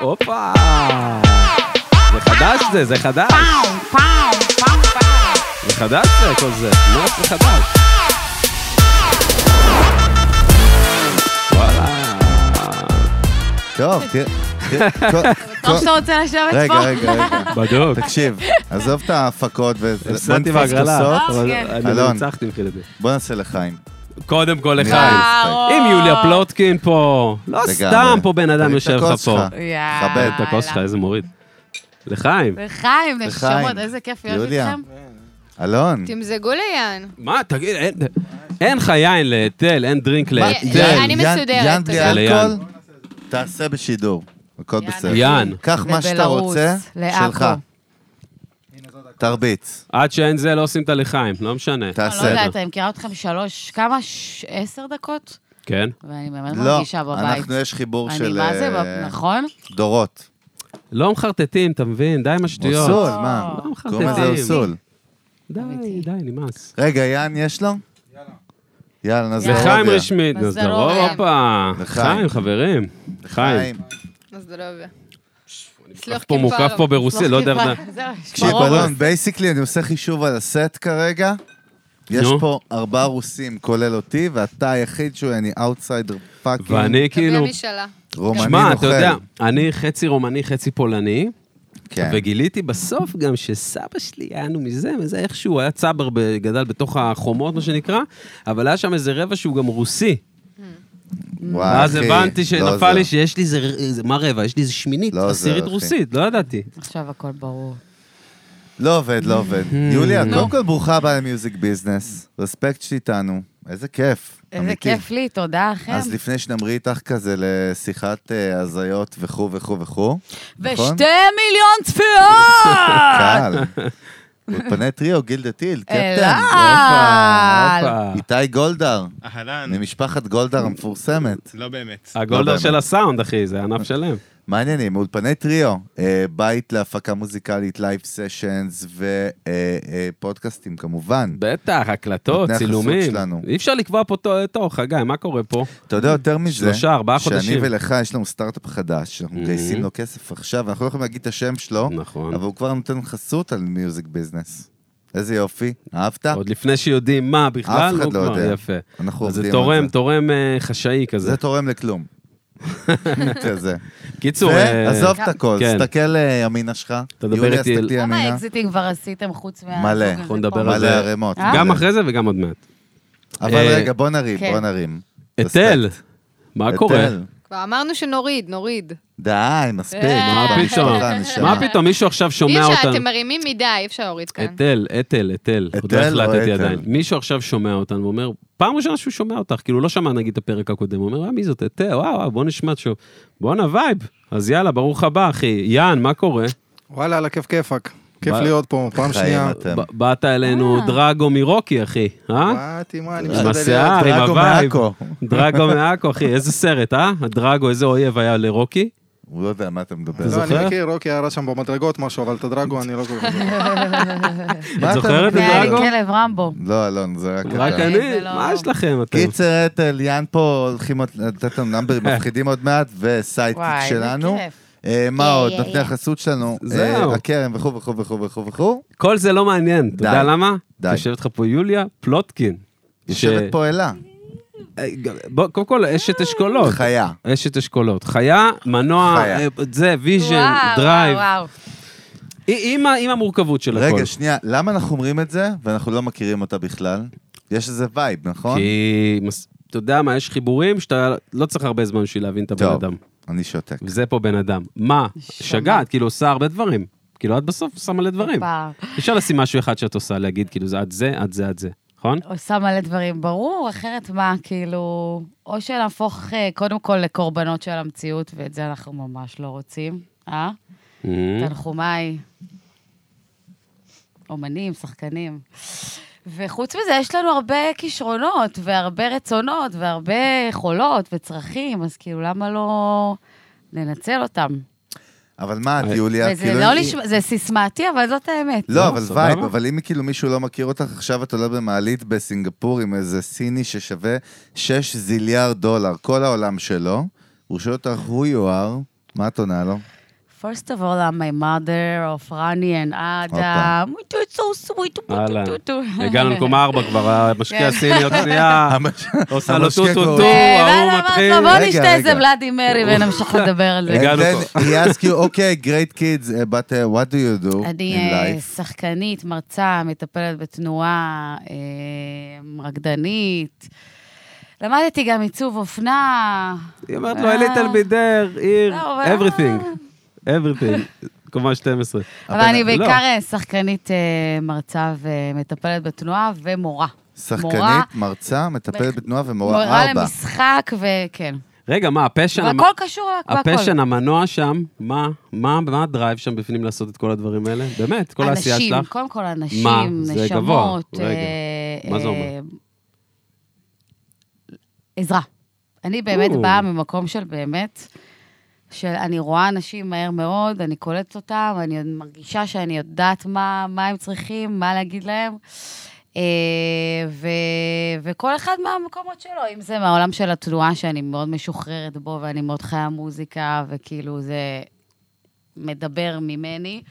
הופה! זה חדש זה, זה חדש. זה חדש זה, כל זה. לא, זה חדש. וואלה. טוב, תראה... תראה, כל- טוב כל- שאתה רוצה לשבת פה. רגע, רגע, רגע. בדוק. תקשיב, עזוב את ההפקות וזה. בוא הפסדתי נתפוס בהגרלה. אה, אה, כוסות. אבל כן. אני אלון. ניצחתי מבחינתי. בוא נעשה לחיים. קודם כל לך. נראה לי. ברור. אם יוליה פלוטקין פה, לא לגמרי. סתם פה בן אדם תרים את יושב לך הכוס פה. אה, שלך. יאללה. תכבד את הכוס שלך, איזה מוריד. לחיים. לחיים, נשמות, לחיים. איזה כיף להיות יוליה. איתכם. אלון, תמזגו ליאן. מה, תגיד, אין- אין לך יין להיטל, אין דרינק אה, להיטל. יאן, אני יאן- מסודרת, יאן תודה. בלי ליאן. אלכוהול, תעשה בשידור. הכל יאן. בסדר. יאן. קח מה שאתה לבלרוס, רוצה, לעכו. שלך. תרביץ, עד שאין זה, לא עושים את הלחיים, לא משנה. אני לא תעשה. יודעת, אני מכירה אתכם שלוש, כמה? ש- עשר דקות? כן? ואני באמת לא, מרגישה בבית. אנחנו, יש חיבור אני, של מה זה, אה, ב- נכון? דורות. לא מחרטטים, אתה מבין? די עם השטויות. אוסול, מה? לא מחרטטים. קוראים לזה אוסול. די, די, נמאס. רגע, יאן יש לו? יאללה, נזלור. לחיים רשמית, נו, מזל זרוב, אוריה. הופה. לחיים. חיים, חברים. לחיים. אז זה לא יודע. מוקף פה מוקף פה ברוסי, לא יודע... זהו, יש תקשיב, ברור. אלון, בייסיקלי אני עושה חישוב על הסט כרגע. יש נו. פה ארבעה רוסים, כולל אותי, ואתה היחיד שהוא, אני אאוטסיידר פאקינג ואני כאילו... רומני שמע, אתה נוכל. יודע, אני חצי רומני, חצי פולני, כן. וגיליתי בסוף גם שסבא שלי, היה לנו מזה, מזה איכשהו, היה צבר, ב- גדל בתוך החומות, מה שנקרא, אבל היה שם איזה רבע שהוא גם רוסי. וואי, ואז אחי, הבנתי לא שנפל לי עוזר. שיש לי איזה, איזה- מה רבע? יש לי איזה שמינית, לא עוזר, עשירית אחי. רוסית, לא ידעתי. עכשיו הכל ברור. לא עובד, לא עובד. Hmm. יוליה, קודם כל ברוכה הבאה למיוזיק ביזנס. רספקט שאיתנו. איזה כיף. איזה אמיתי. כיף כן. לי, תודה לכם. אז לפני שנמריא איתך כזה לשיחת אה, הזיות וכו' וכו' וכו'. נכון? ושתי מיליון צפיות! קהל. אולפני טריו, גילדה טיל, אה, קפטן. אלעל! לא. איתי גולדהר, כן. אהלן, ממשפחת גולדהר המפורסמת. לא באמת. הגולדר באמת. של הסאונד, אחי, זה ענף שלם. מעניינים, אולפני טריו, אה, בית להפקה מוזיקלית, לייב סשנס ופודקאסטים כמובן. בטח, הקלטות, נותני החסות צילומים. שלנו. אי אפשר לקבוע פה תו- תור, חגי, מה קורה פה? אתה יודע יותר מזה, שלושה, ארבעה שאני חודשים. Mm-hmm. ולך יש לנו סטארט-אפ חדש, שאנחנו מגייסים לו כסף עכשיו, אנחנו לא יכולים להגיד את השם שלו, נכון. אבל הוא כבר נותן חסות על מיוזיק ביזנס. איזה יופי, אהבת? עוד לפני שיודעים מה בכלל, אה. אף אחד הוא לא כבר- יודע. יפה. אנחנו אז זה עובדים על תורם, זה. תורם אה, חשאי כזה. זה תורם לכלום. כזה. קיצור, אה, ועזוב את הכל, כן. תסתכל אה, ימינה שלך. תדבר יוליה, איתי אל- תסתכלי כמה ימינה. אקזיטים כבר עשיתם חוץ מה... מלא. אנחנו נדבר על מלא זה. ערימות. אה? גם מלא. אחרי זה וגם עוד מעט. אבל אה, רגע, בוא נרים, כן. בוא נרים. היטל, מה היטל. קורה? כבר אמרנו שנוריד, נוריד. די, מספיק. אה, מה כבר פתאום? משפחה, נשמה. מה פתאום מישהו עכשיו אי שומע אפשר, אתם אותנו? מרימים מדי, אי אפשר להוריד כן. כאן. היטל, היטל, היטל. עוד לא היטל או החלטתי היטל? עדיין. מישהו עכשיו שומע אותנו ואומר, פעם ראשונה שהוא שומע אותך, כאילו לא שמע נגיד את הפרק הקודם, הוא אומר, אה, מי זאת, היטל, וואו, וואו, בוא נשמע שוב. בואנה וייב, אז יאללה, ברוך הבא, אחי. יאן, מה קורה? וואלה, על הכיף כיפאק. כיף מה- להיות פה, פעם חיים שנייה. אתם. ב- באת אלינו אה. דרגו מרוקי, אחי, אה? באתי, מה, אני עם משתדל להיות... השיער, עם דרגו הווייב. מעכו. דרגו מעכו, אחי, איזה סרט, אה? הדרגו, איזה אויב היה לרוקי? הוא לא יודע מה אתה מדבר. לא, זוכר? אני מכיר, רוקי היה שם במדרגות משהו, אבל את הדרגו אני לא כל כך... זוכר. מה אתה זוכרת את מדבר? זה היה לי דרגו? כלב רמבו. לא, אלון, זה רק... רק אתה. אני? זה לא- מה יש לכם? אתם? קיצר, אתל, יאן פה, הולכים עוד- לתת לנו נאמברים כן. מפחידים עוד מעט, וסייטיק וואי, איזה שלנו. כיף. אה, מה יא, עוד? יא, נותני יא. החסות שלנו. אה, זהו. הקרן וכו' וכו' וכו' וכו' וכו'. כל זה לא מעניין, אתה די. יודע למה? די. יושבת לך פה יוליה פלוטקין. יושבת ש- פה אלה, אה, גם- בוא, קודם כל, אשת אשכולות. חיה. אשת אשכולות. חיה, מנוע, חיה. אה, זה, ויז'ן, וואו, דרייב. וואו, וואו. היא- עם ה- עם המורכבות של הכל. רגע, שנייה, למה אנחנו אומרים את זה ואנחנו לא מכירים אותה בכלל? יש איזה וייב, נכון? כי מס- אתה יודע מה, יש חיבורים שאתה לא צריך הרבה זמן בשביל להבין את הבן טוב. אדם. אני שותק. וזה פה בן אדם. מה? נשמה. שגעת, כאילו עושה הרבה דברים. כאילו, את בסוף עושה מלא דברים. פעם. אי אפשר לשים משהו אחד שאת עושה, להגיד, כאילו, זה את זה, את זה, את זה. נכון? עושה מלא דברים, ברור, אחרת מה, כאילו... או שנהפוך אה, קודם כל לקורבנות של המציאות, ואת זה אנחנו ממש לא רוצים, אה? תנחומיי. אומנים, שחקנים. וחוץ מזה, יש לנו הרבה כישרונות, והרבה רצונות, והרבה יכולות וצרכים, אז כאילו, למה לא לנצל אותם? אבל אה, מה, את יוליה, וזה כאילו... לא אם- נשמע, זה סיסמאתי, אבל זאת האמת. לא, לא, אבל סבבה. וייב, אבל אם כאילו מישהו לא מכיר אותך, עכשיו את עולה במעלית בסינגפור עם איזה סיני ששווה 6 זיליארד דולר, כל העולם שלו, הוא שואל אותך who you are, מה את עונה לו? First of all, I'm my mother of Rani and Adam. It's so sweet. אהלן. הגענו למקום ארבע כבר, המשקיע כן. הסיני עוד שנייה, עושה לו המשקיע טו טו קורא. טו, אה, ההוא ואז אמרת מתחיל. לו, בוא רגע, נשתה רגע. איזה ולאדי מרי ונמשיך לדבר על זה. רגע. הגענו And then פה. he asks you, okay, great kids, uh, but uh, what do you do אני in אה, life? שחקנית, מרצה, מטפלת בתנועה, אה, רקדנית. למדתי גם עיצוב אופנה. היא אומרת לו, a little bit there, here, אה. לא, אבל- everything, everything, קומה 12. אבל אני אבל- בעיקר לא. אה, שחקנית, אה, מרצה ומטפלת בתנועה ומורה. מורה- שחקנית, מרצה, מטפלת מח- בתנועה ומורה מורה ארבע. למשחק, וכן. רגע, מה, הפשן, המ- והכל קשור לה- והכל. הפשן, המנוע שם, מה, מה, מה הדרייב שם בפנים לעשות את כל הדברים האלה? באמת, כל העשייה אנשים, שלך. קודם כל אנשים, מה? זה נשמות. גבוה. רגע. אה, מה זה אה, אומר? עזרה. אני באמת או. באה ממקום של באמת, של אני רואה אנשים מהר מאוד, אני קולטת אותם, אני עוד מרגישה שאני יודעת מה, מה הם צריכים, מה להגיד להם. אה, ו, וכל אחד מהמקומות שלו, אם זה מהעולם של התנועה שאני מאוד משוחררת בו, ואני מאוד חיה מוזיקה, וכאילו זה מדבר ממני,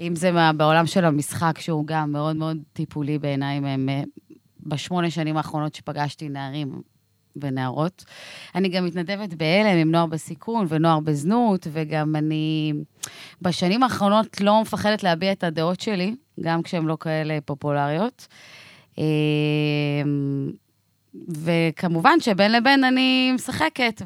אם זה מה, בעולם של המשחק, שהוא גם מאוד מאוד טיפולי בעיניי, הם, אה, בשמונה שנים האחרונות שפגשתי נערים ונערות. אני גם מתנדבת בהלם עם נוער בסיכון ונוער בזנות, וגם אני בשנים האחרונות לא מפחדת להביע את הדעות שלי, גם כשהן לא כאלה פופולריות. אה, וכמובן שבין לבין אני משחקת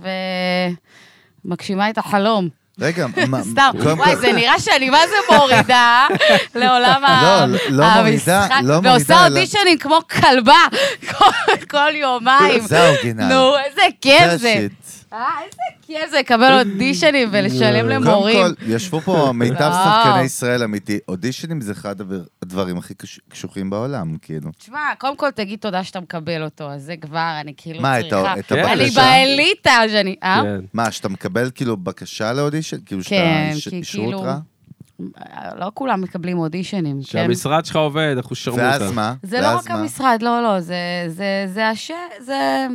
ומגשימה את החלום. רגע, מה... סתם, קודם וואי, כל- זה נראה שאני מה זה מורידה לעולם ה- לא, המשחק. לא מורידה, לא מורידה, ועושה אלא- אודישנים כמו כלבה כל- כל יומיים. זה האורגינל. נו, איזה כיף זה זה. השיט. אה, איזה כיף זה לקבל אודישנים ולשלם למורים. קודם כל, ישבו פה מיטב וואו. שחקני ישראל אמיתי. אודישנים זה אחד הדברים הכי קש- קשוחים בעולם, כאילו. תשמע, קודם כל תגיד תודה שאתה מקבל אותו, אז זה כבר, אני כאילו מה, את צריכה... ה- את אני אני הבקשה? באליטה, שאני... אה? כן. מה, שאתה מקבל כאילו בקשה לאודישן? כאילו שאתה כן, איש- כי אישרו כאילו- אותך? לא כולם מקבלים אודישנים, כן? שהמשרד שלך עובד, איך הוא שרמוטה. ואז מה? זה לא ואז רק מה? המשרד, לא, לא, זה, זה, זה הש... זה...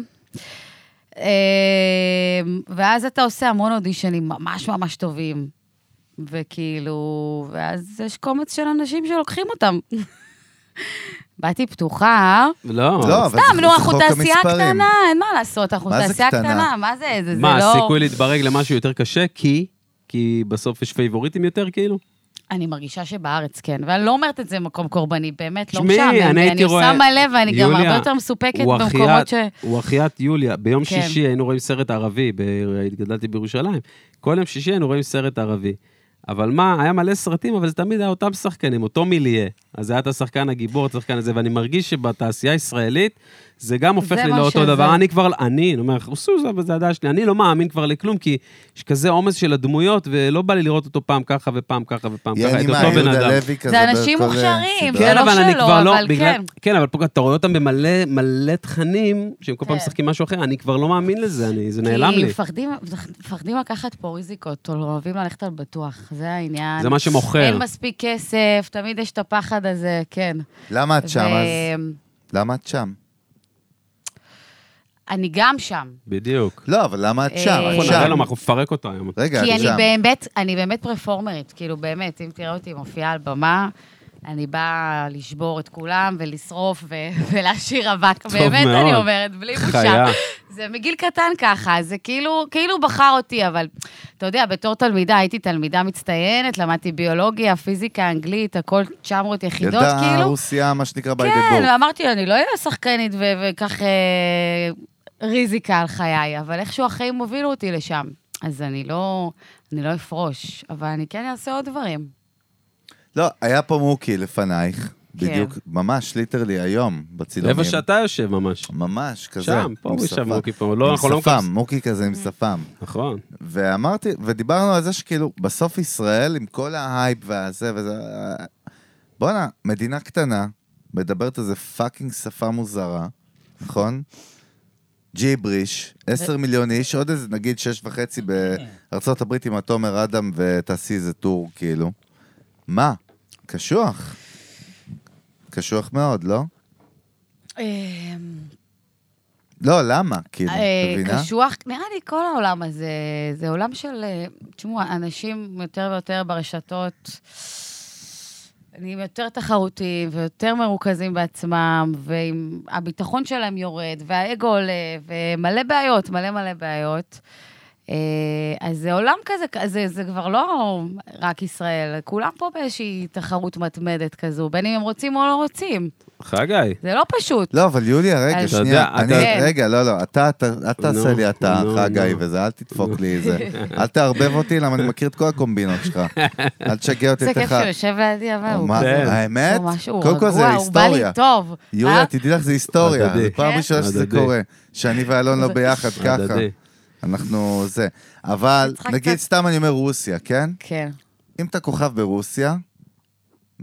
אה, ואז אתה עושה המון אודישנים ממש ממש טובים. וכאילו, ואז יש קומץ של אנשים שלוקחים אותם. באתי פתוחה. לא. לא, אבל סתם, זה- נו, זה אנחנו חוק תעשייה המספרים. קטנה, אין מה לעשות, אנחנו מה זה תעשייה קטנה? קטנה, מה זה, זה זה מה, לא... הסיכוי להתברג למשהו יותר קשה? כי? כי בסוף יש פייבוריטים יותר, כאילו? אני מרגישה שבארץ כן, ואני לא אומרת את זה במקום קורבני, באמת, לא תשמעי, משעמם לי, אני אני הייתי רואה- עושה מלא ואני גם יוליה, הרבה יותר מסופקת הוא במקומות אחיית- ש... הוא אחיית יוליה. ביום כן. שישי היינו רואים סרט ערבי, ב- גדלתי בירושלים. כל יום שישי היינו רואים סרט ערבי. אבל מה, היה מלא סרטים, אבל זה תמיד היה אותם שחקנים, אותו מיליה. אז היה את השחקן הגיבור, את השחקן הזה, ואני מרגיש שבתעשייה הישראלית, זה גם הופך זה לי מה לאותו שזה. דבר. אני כבר, אני, אני אומר לך, עשו זה, אבל זה הדעה שלי, אני לא מאמין כבר לכלום, כי יש כזה עומס של הדמויות, ולא בא לי לראות אותו פעם ככה ופעם ככה ופעם ככה, את יעני אותו מה, בן יהודה אדם. לוי כזה. זה אנשים בכל, אה, מוכשרים, זה סדרה. כן, לא אבל אני שלו, כבר לא, אבל בגלל- כן. כן, אבל פה אתה רואה אותם במלא מלא תכנים, שהם כל פעם כן. משחקים משהו אחר, אני כבר לא מאמין לזה, אני- זה נעלם כי לי. מפחדים, מפחדים לקחת פה ריזיקות, או אוהבים ללכת על בטוח, זה העניין. זה מה שמוכר. אין מספיק כסף, תמיד יש את הפחד הזה, כן. למה את שם אז? ו- למה את שם? אני גם שם. בדיוק. לא, אבל למה את שם? אה, אנחנו את נראה לו, שם. מה, נכון, אנחנו נפרק אותו היום. רגע, כי את אני שם. באמת, אני באמת פרפורמרית, כאילו באמת, אם תראה אותי מופיעה על במה, אני באה לשבור את כולם ולשרוף ו- ולהשאיר אבק, באמת, מאוד. אני אומרת, בלי חיה. בושה. זה מגיל קטן ככה, זה כאילו, כאילו בחר אותי, אבל אתה יודע, בתור תלמידה, הייתי תלמידה מצטיינת, למדתי ביולוגיה, פיזיקה, אנגלית, הכל 900 יחידות, ילדה כאילו. רוסייה, מה שנקרא by the כן, book. ואמרתי, אני לא אהיה שחקנית ו- וכך אה, ריזיקה על חיי, אבל איכשהו החיים הובילו אותי לשם. אז אני לא, אני לא אפרוש, אבל אני כן אעשה עוד דברים. לא, היה פה מוקי לפנייך, בדיוק, ממש, ליטרלי היום, בצילומים. איפה שאתה יושב ממש. ממש, כזה. שם, פה עם הוא ישב, שפה. מוקי פה, לא, עם אנחנו לא שפם, מכניס- מוקי כזה עם שפם. נכון. ואמרתי, ודיברנו על זה שכאילו, בסוף ישראל, עם כל ההייפ והזה וזה, בואנה, מדינה קטנה, מדברת איזה פאקינג שפה מוזרה, נכון? ג'יבריש, עשר מיליון איש, עוד איזה נגיד שש וחצי בארצות הברית עם התומר אדם ותעשי איזה טור, כאילו. מה? קשוח. קשוח מאוד, לא? לא, למה? כאילו, אה, את מבינה? קשוח, נראה לי כל העולם הזה, זה עולם של, אה, תשמעו, אנשים יותר ויותר ברשתות נהיים יותר תחרותיים ויותר מרוכזים בעצמם, והביטחון שלהם יורד, והאגו עולה, ומלא בעיות, מלא מלא בעיות. אה, אז זה עולם כזה, זה, זה כבר לא רק ישראל, כולם פה באיזושהי תחרות מתמדת כזו, בין אם הם רוצים או לא רוצים. חגי. זה לא פשוט. לא, אבל יוליה, רגע, אז- אתה לא, שנייה, יודע, אני, אתה- רגע, לא, לא, אתה, אתה, אתה נו, תעשה לי אתה, נו, חגי נו. וזה, אל תדפוק לי את זה. אל תערבב אותי, למה אני מכיר את כל הקומבינות שלך. אל תשגע אותי זה את כיף אחד. שהוא יושב לידי, אבל הוא לא, מה, כן. האמת? הוא משהו, הוא קודם כל זה רגוע, הוא בא לי היסטוריה. טוב. יוליה, אה? תדעי לך, זה היסטוריה. הדדי. זו פעם כן? ראשונה שזה הדדי. קורה. שאני ואלון לא ביחד, ככה. הדדי. אנחנו זה. אבל, נצחק נגיד קצת. סתם אני אומר רוסיה, כן? כן. אם אתה כוכב ברוסיה,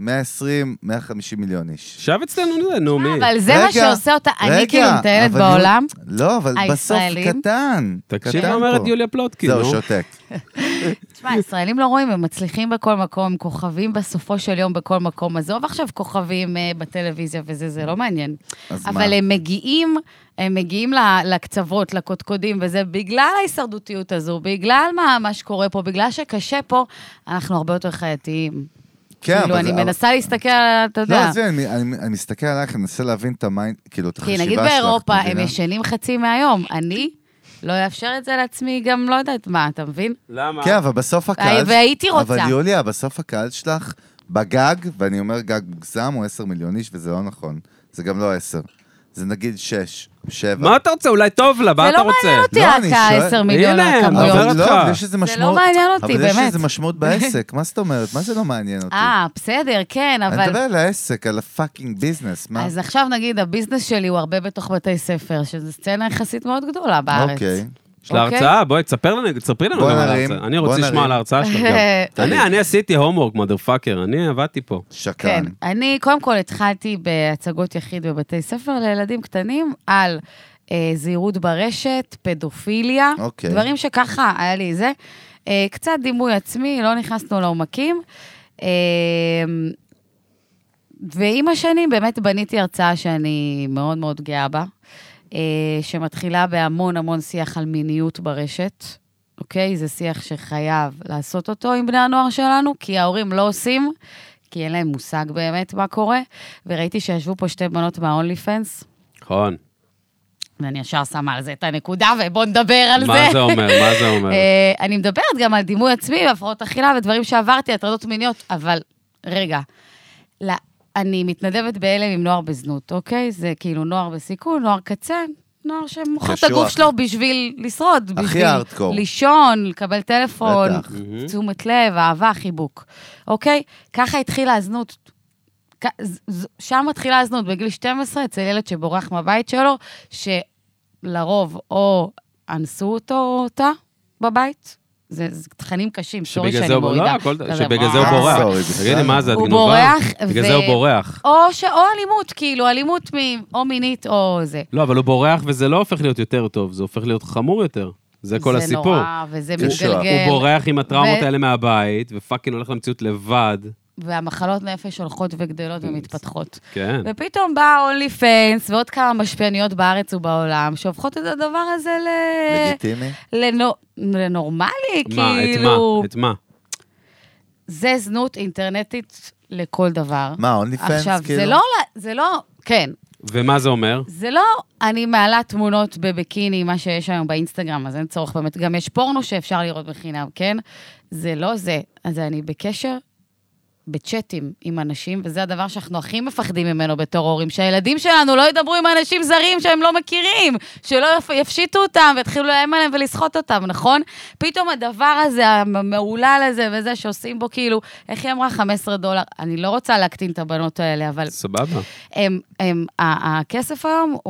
120, 150 מיליון איש. שב אצלנו, נו, נו, מי? אבל זה מה רגע, שעושה אותה, אני רגע, כאילו מטיילת אבל בעולם. יול- לא, אבל בסוף הישראלים? קטן. תקשיב קטן מה אומרת פה. יוליה כאילו. פלוטקין, זהו, נו. שותק. תשמע, ישראלים לא רואים, הם מצליחים בכל מקום, כוכבים בסופו של יום בכל מקום. עזוב עכשיו כוכבים אה, בטלוויזיה וזה, זה לא מעניין. אז מה? אבל הם מגיעים, הם מגיעים ל- לקצוות, לקודקודים וזה, בגלל ההישרדותיות הזו, בגלל מה, מה שקורה פה, בגלל שקשה פה, אנחנו הרבה יותר חייתיים. כן, כאילו, אבל אני זה- מנסה להסתכל, על- אתה לא, יודע. עזבי, אני- אני אני מסתכל עלייך, אני מנסה להבין את המיינד, כאילו, את החשיבה כי שלך. נגיד באירופה, את הם מבינה? ישנים חצי מהיום. אני לא אאפשר את זה לעצמי, גם לא יודעת מה, אתה מבין? למה? כן, אבל בסוף הקהל... אה, והייתי רוצה. אבל יוליה, בסוף הקהל שלך בגג, ואני אומר גג מוגזם, הוא 10 מיליון איש, וזה לא נכון. זה גם לא 10. זה נגיד 6, 7. מה אתה רוצה? אולי טוב לה, מה זה אתה לא רוצה? מעניין אותי לא, רק אני שואל- ה-10 מיליון הנה, הכמויות. אומרת אבל לך. לא, אבל יש איזה משמעות. מעניין אותי, אבל יש באמת. איזה משמעות בעסק, מה זאת אומרת? מה זה לא מעניין אותי? אה, בסדר, כן, אני אבל... מדבר על העסק, על הפאקינג ביזנס, מה? אז עכשיו נגיד, הביזנס שלי הוא הרבה בתוך בתי ספר, שזו סצנה יחסית מאוד גדולה בארץ. אוקיי. יש לה אוקיי. הרצאה, בואי, תספר לנו, תספרי לנו בוא גם על נרים, ההרצאה. אני בוא רוצה לשמוע נרים. על ההרצאה שלך גם. אני- אני עשיתי homework, mother fucker, אני עבדתי פה. שקרן. כן. אני קודם כל התחלתי בהצגות יחיד בבתי ספר לילדים קטנים על אה, זהירות ברשת, פדופיליה, אוקיי. דברים שככה היה לי זה. אה, קצת דימוי עצמי, לא נכנסנו לעומקים. אה, ועם השנים באמת בניתי הרצאה שאני מאוד מאוד גאה בה, אה, שמתחילה בהמון המון שיח על מיניות ברשת. אוקיי? זה שיח שחייב לעשות אותו עם בני הנוער שלנו, כי ההורים לא עושים, כי אין להם מושג באמת מה קורה. וראיתי שישבו פה שתי בנות מהאונלי פנס, נכון. ואני ישר שמה על זה את הנקודה, ובואו נדבר על זה. מה זה אומר? מה זה אומר? אה, אני מדברת גם על דימוי עצמי והפרעות אכילה ודברים שעברתי, הטרדות מיניות, אבל רגע, לא, אני מתנדבת בהלם עם נוער בזנות, אוקיי? זה כאילו נוער בסיכון, נוער קצה, נוער שמוכר את קשוח. הגוף שלו בשביל לשרוד, הכי בשביל הארדקור. לישון, לקבל טלפון, בטח. תשומת לב, אהבה, חיבוק, אוקיי? ככה התחילה הזנות. כ- ז- ז- שם מתחילה הזנות, בגיל 12, אצל ילד שבורח מהבית שלו, שלרוב או אנסו אותו או אותה בבית, זה, זה תכנים קשים, סורי שבגלל שאני זה הוא מורידה. לא, הכל- אתה יודע, שבגלל זה הוא אה, בורח. סורי, בסדר. תגיד לי, מה זה, את הוא גנובה? בורח, בגלל ו- זה הוא בורח. או, ש... או אלימות, כאילו, אלימות מ... או מינית או זה. לא, אבל הוא בורח וזה לא הופך להיות יותר טוב, זה הופך להיות חמור יותר. זה כל הסיפור. כן, זה נורא, וזה הוא- מתגלגל. הוא בורח עם הטראומות ו- האלה מהבית, ופאקינג הולך למציאות לבד. והמחלות נפש הולכות וגדלות ומתפתחות. כן. ופתאום בא אונלי פיינס ועוד כמה משפיעניות בארץ ובעולם, שהופכות את הדבר הזה ל... לגיטימי? לנו... לנורמלי, מה, את מה? כאילו. את מה? זה זנות אינטרנטית לכל דבר. מה, אונלי פנס? עכשיו, זה לא... זה לא... כן, ומה זה אומר? זה לא אני מעלה תמונות בביקיני, מה שיש היום באינסטגרם, אז אין צורך באמת, גם יש פורנו שאפשר לראות בחינם, כן? זה לא זה. אז אני בקשר, בצ'אטים עם אנשים, וזה הדבר שאנחנו הכי מפחדים ממנו בתור הורים, שהילדים שלנו לא ידברו עם אנשים זרים שהם לא מכירים, שלא יפ- יפשיטו אותם ויתחילו לאיים עליהם ולסחוט אותם, נכון? פתאום הדבר הזה, המהולל הזה וזה שעושים בו כאילו, איך היא אמרה? 15 דולר. אני לא רוצה להקטין את הבנות האלה, אבל... סבבה. הם, הם, ה- הכסף היום הוא,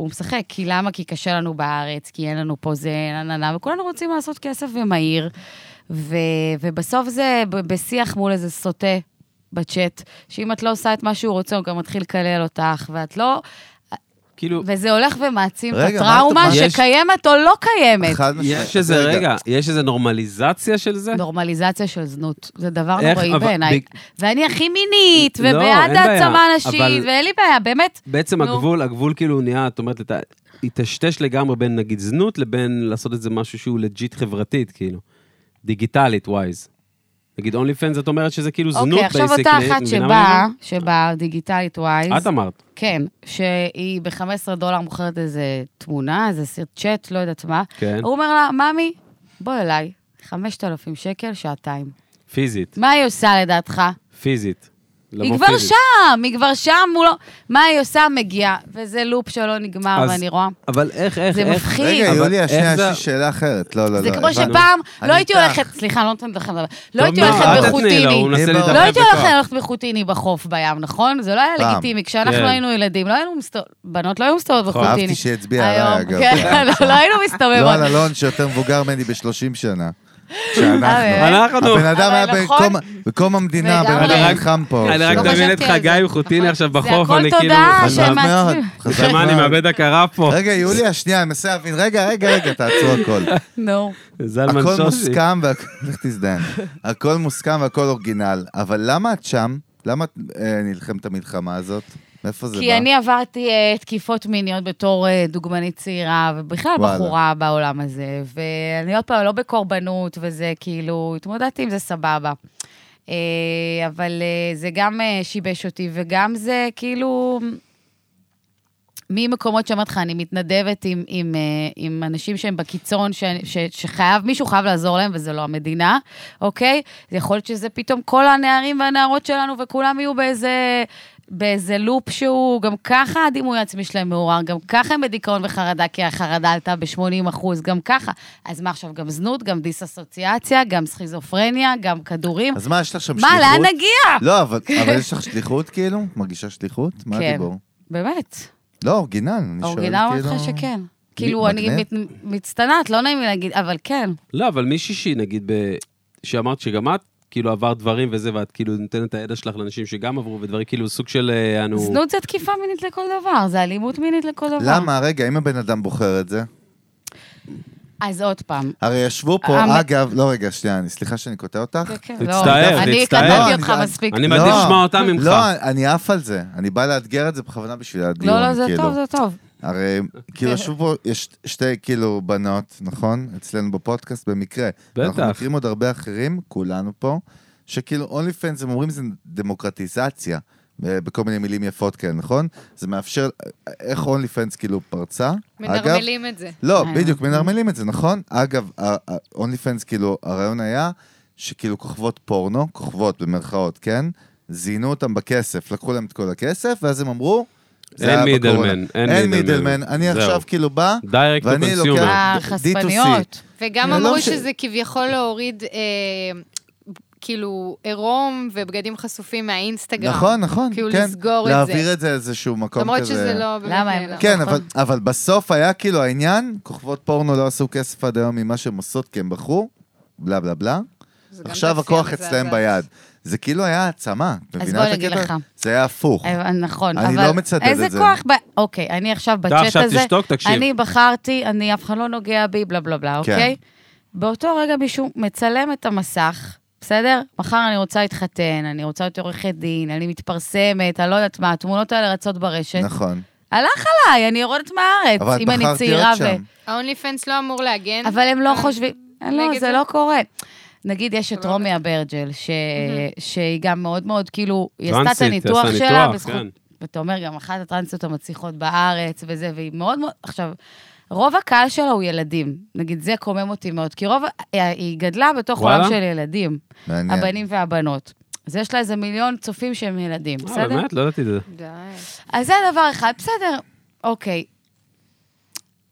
הוא משחק, כי למה? כי קשה לנו בארץ, כי אין לנו פה זה, נה נה נה, וכולנו רוצים לעשות כסף ומהיר. ו, ובסוף זה ב- בשיח מול איזה סוטה בצ'אט, שאם את לא עושה את מה שהוא רוצה, הוא גם מתחיל לקלל אותך, ואת לא... כאילו, וזה הולך ומעצים את רגע, מה הטראומה אתה- מה- יש- שקיימת או לא קיימת. חד משמעית. יש איזה, אז רגע, יש איזה נורמליזציה של זה? נורמליזציה של זנות, זה דבר איך, נוראי אבל- בעיניי. ב- ואני הכי מינית, לא, אין ובעד בעיה, העצמה נשית, אבל- ואין לי בעיה, באמת. בעצם נו. הגבול, הגבול כאילו נהיה, את אומרת, את ה- היטשטש לגמרי בין נגיד זנות לבין לעשות את זה משהו שהוא לג'יט חברתית, כאילו. דיגיטלית ווייז. נגיד אונלי פנס, את אומרת שזה כאילו זנות אוקיי, עכשיו basically, אותה את אחת מבינה מה שבאה, אני שבאה דיגיטלית ווייז. אומר? את אמרת. כן, שהיא ב-15 דולר מוכרת איזה תמונה, איזה סרט צ'אט, לא יודעת מה. כן. הוא אומר לה, ממי, בוא אליי, 5,000 שקל, שעתיים. פיזית, מה היא עושה לדעתך? פיזית. היא לבוא כבר פיזית. שם, היא כבר שם, הוא לא... מה היא עושה? מגיעה. וזה לופ שלא נגמר, אז- ואני רואה. אבל איך, איך, זה איך... מפחיד. רגע, אבל יוליה, איך שנייה, יש זה- לי שאלה אחרת. לא, לא, לא. זה כמו הבנתי. שפעם, אני לא הייתי איתך. הולכת, סליחה, לא נותנת לכם לדבר. לא טוב, הייתי מה, אל הולכת תתני לו, בחוטיני. הוא מנסה לא להתערב לא הייתי בכוח. הולכת ללכת בחוטיני בחוף בים, נכון? זה לא היה פעם. לגיטימי. כשאנחנו כן. היינו ילדים, לא היינו מסתובבות, בנות לא היו מסתובבות נכון. בחוטיני. אהבתי שהצביעה עליי, היום, אגב. כן, לא היינו לא מסתובבות. על אלון, שיותר מבוגר ממני ב-30 שנה. שאנחנו. אה, אנחנו... הבן אדם אבל היה נכון. בקום- בקום המדינה, הבן לגמרי. אדם אני רק- נלחם פה. אני רק לא מדמיין את חשבתי על חגי זה. עם חוטיני עכשיו זה בחוף, הכל אני כאילו... תודה חזק. שהם- חזק מאוד, חזק נשמע, אני מאוד. מאבד הכרה פה. רגע, יוליה, שנייה, אני מנסה להבין. רגע, רגע, רגע, תעצרו הכל. נו. זלמן הכל שושי. מוסכם והכל... לך תזדיין. הכל מוסכם והכל אורגינל, אבל למה את שם? למה את אה, נלחמת את המלחמה הזאת? מאיפה זה בא? כי אני עברתי אה, תקיפות מיניות בתור אה, דוגמנית צעירה, ובכלל וואלה. בחורה בעולם הזה, ואני עוד פעם לא בקורבנות וזה, כאילו, התמודדתי עם זה סבבה. אה, אבל אה, זה גם אה, שיבש אותי, וגם זה כאילו... ממקומות שאמרתי לך, אני מתנדבת עם, עם, אה, עם אנשים שהם בקיצון, ש, ש, שחייב, מישהו חייב לעזור להם, וזה לא המדינה, אוקיי? זה יכול להיות שזה פתאום כל הנערים והנערות שלנו, וכולם יהיו באיזה, באיזה לופ שהוא, גם ככה הדימוי העצמי שלהם מעורער, גם ככה הם בדיכאון וחרדה, כי החרדה עלתה ב-80 אחוז, גם ככה. אז מה עכשיו, גם זנות, גם דיסאסוציאציה, גם סכיזופרניה, גם כדורים. אז מה, יש לך שם שליחות? מה, לאן נגיע? לא, אבל אבל יש לך שליחות כאילו? מרגישה שליחות? מה כן. הדיבור? באמת. לא, אורגינל, אני שואל כאילו... אורגינל אומרת לך שכן. כאילו, אני מגניב. מת- מצטנעת, לא נעים לי להגיד, אבל כן. לא, אבל מישהי שהיא, נגיד, ב... שאמרת שגם את, כאילו, עברת דברים וזה, ואת כאילו נותנת את הידע שלך לאנשים שגם עברו, ודברים כאילו סוג של... אה, לא. אנו... זנות זה תקיפה מינית לכל דבר, זה אלימות מינית לכל דבר. למה? רגע, אם הבן אדם בוחר את זה? אז עוד פעם. הרי ישבו פה, המ- אגב, לא, רגע, שנייה, אני- סליחה שאני קוטע אותך. כן, תצטער, לא, תצטער. אני לא, קטעתי אני- אותך אני- מספיק. אני לא, מעדיף לשמוע אותה ממך. לא, אני עף על זה. אני בא לאתגר את זה בכוונה בשביל הדיון, לא, לא, זה כאילו. טוב, זה טוב. הרי כאילו ישבו פה, יש שתי כאילו בנות, נכון? אצלנו בפודקאסט במקרה. בטח. אנחנו מכירים עוד הרבה אחרים, כולנו פה, שכאילו אונלי פנס, הם אומרים זה דמוקרטיזציה, אה, בכל מיני מילים יפות כאלה, נכון? זה מאפשר, אה, איך אונלי פנס כאילו פרצה? אגב, מנרמלים את זה. לא, אה. בדיוק, אוקיי. מנרמלים את זה, נכון? אגב, אונלי פנס, כאילו, הרעיון היה שכאילו כוכבות פורנו, כוכבות במרכאות, כן? זיינו אותם בכסף, לקחו להם את כל הכסף, ואז הם אמרו... זה אין היה מידלמן, בקורונה. אין אין מידלמן. מידלמן. אני זהו. עכשיו כאילו בא, דיירקט טו ואני קונסיומר. לוקח- אה, D- חשפניות. וגם לא אמרו משנה. שזה כביכול להוריד, אה, כאילו, עירום ובגדים חשופים מהאינסטגרם. נכון, נכון, כאילו כן. לסגור את זה. להעביר את זה איזשהו מקום כזה. למרות שזה לא באמת למה הם- נעלם. כן, נכון. אבל, אבל בסוף היה כאילו העניין, כוכבות פורנו לא עשו כסף עד היום ממה שהן עושות כי הם בחרו, בלה בלה בלה. זה גם עכשיו תעשייה הכוח מזעזעת. אצלהם ביד. זה כאילו היה העצמה, את אז מבינה בוא את אני אגיד הקטע? לך. זה היה הפוך. אה, נכון, אני אבל... לא מצטט את איזה זה. כוח ב... אוקיי, אני עכשיו אתה בצ'אט עכשיו הזה, תשתוק, תקשיב. אני בחרתי, אני, אף אחד לא נוגע בי, בלה בלה בלה, כן. אוקיי? באותו רגע מישהו מצלם את המסך, בסדר? מחר אני רוצה להתחתן, אני רוצה להיות עורכת דין, אני מתפרסמת, אני לא יודעת מה, התמונות האלה רצות ברשת. נכון. הלך עליי, אני יורדת מהארץ, אבל את אם אני בחרת צעירה להיות ו... שם. ההונלי פנס לא אמור להגן. אבל הם לא אה, חושבים... לא, נגד זה זה? לא קורה. נגיד, יש את לא רומי אברג'ל, ש- שהיא גם מאוד מאוד, כאילו, היא עשתה את טרנסית, הניתוח עשה שלה ניתוח, בזכות... כן. ואתה אומר, גם אחת הטרנסיות המצליחות בארץ וזה, והיא מאוד מאוד... עכשיו, רוב הקהל שלה הוא ילדים. נגיד, זה קומם אותי מאוד, כי רוב... אה, היא גדלה בתוך וואלה? עולם של ילדים, מעניין. הבנים והבנות. אז יש לה איזה מיליון צופים שהם ילדים, אה, בסדר? באמת? לא ידעתי את זה. די. אז זה דבר אחד, בסדר, אוקיי.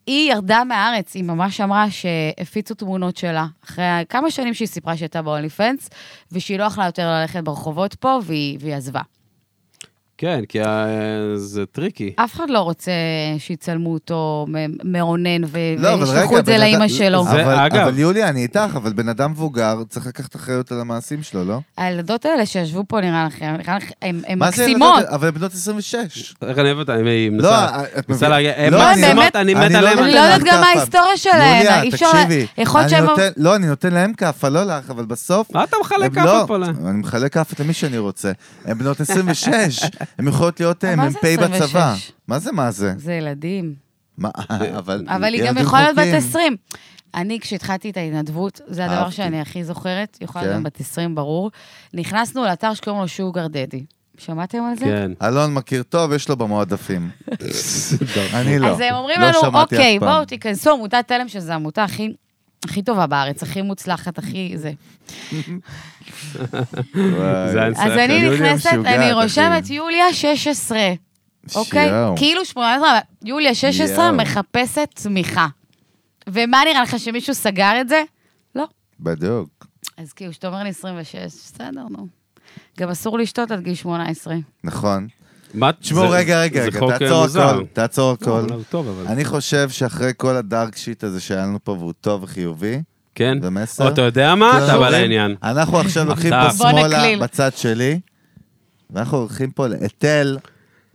היא ירדה מהארץ, היא ממש אמרה שהפיצו תמונות שלה, אחרי כמה שנים שהיא סיפרה שהייתה ב-only fans, ושהיא לא יכלה יותר ללכת ברחובות פה, והיא, והיא עזבה. כן, כי אה, זה טריקי. אף אחד לא רוצה שיצלמו אותו מ- מאונן ו- לא, אבל וישלחו רגע, את זה בן לאימא אדם- שלו. זה- אבל- אגב- אבל יולי, אני איתך, אבל בן אדם מבוגר צריך לקחת אחריות על המעשים שלו, לא? הילדות האלה שישבו פה, נראה לכם, נראה לכם, הן הן מה זה מקסימות. ילדות? אבל הן בנות 26. איך אני אוהב אותה? היא לא, מנסה... את מנסה מבינה- להגיע- הן לא, אני- מקסימות, אה, אני מת לא עליהן. נותן אני לא יודעת לך גם מה כאפה. ההיסטוריה שלהן, אי יוליה, אפשר- תקשיבי. יכול להיות אני שהם- נותן- לא, אני נותן להם כאפה, לא לך, אבל בסוף... מה אתה מחלק הם לא- כף פה? לה? אני מחלק כאפות למי שאני רוצה. הן בנות 26, הן יכולות להיות אה, מה זה מ"פ בצבא. 26? מה זה, מה זה? זה ילדים. מה, אבל... אבל היא גם ילדים יכולה להיות חוטאים. בת 20. אני, כשהתחלתי את ההתנדבות, זה הדבר אהבתי. שאני הכי זוכרת, יכולה להיות כן. גם בת 20, ברור. נכנסנו לאתר שקוראים לו שוגר דדי. שמעתם על זה? כן. אלון מכיר טוב, יש לו במועדפים. אני לא. אז הם אומרים לא לנו, שמעתי אף אוקיי, פעם." בואו תיכנסו, עמותת תלם, שזו העמותה הכי... הכי טובה בארץ, הכי מוצלחת, הכי זה. וואי. זה היה- אז בסדר, אני יוליה נכנסת, משוגעת, אני אחי. רושמת יוליה 16, אוקיי? שיואו. כאילו 18, אבל יוליה 16 יואו. מחפשת צמיחה. ומה נראה לך, שמישהו סגר את זה? לא. בדיוק. אז כאילו, כשאתה אומר לי 26, בסדר, נו. גם אסור לשתות עד גיל 18. נכון. מה- תשמעו, זה- רגע, רגע, זה רגע, חוק, אה, תעצור מוזר. הכל, תעצור לא, הכל. אבל הוא טוב, אבל... אני חושב שאחרי כל הדארק שיט הזה שהיה לנו פה, והוא טוב וחיובי, כן. זה מסר. או, אתה יודע מה? אה, אתה אנחנו בא הולכים- לעניין. אנחנו עכשיו לוקחים בוא פה שמאלה, נקליל. בצד שלי, ואנחנו הולכים פה לאתל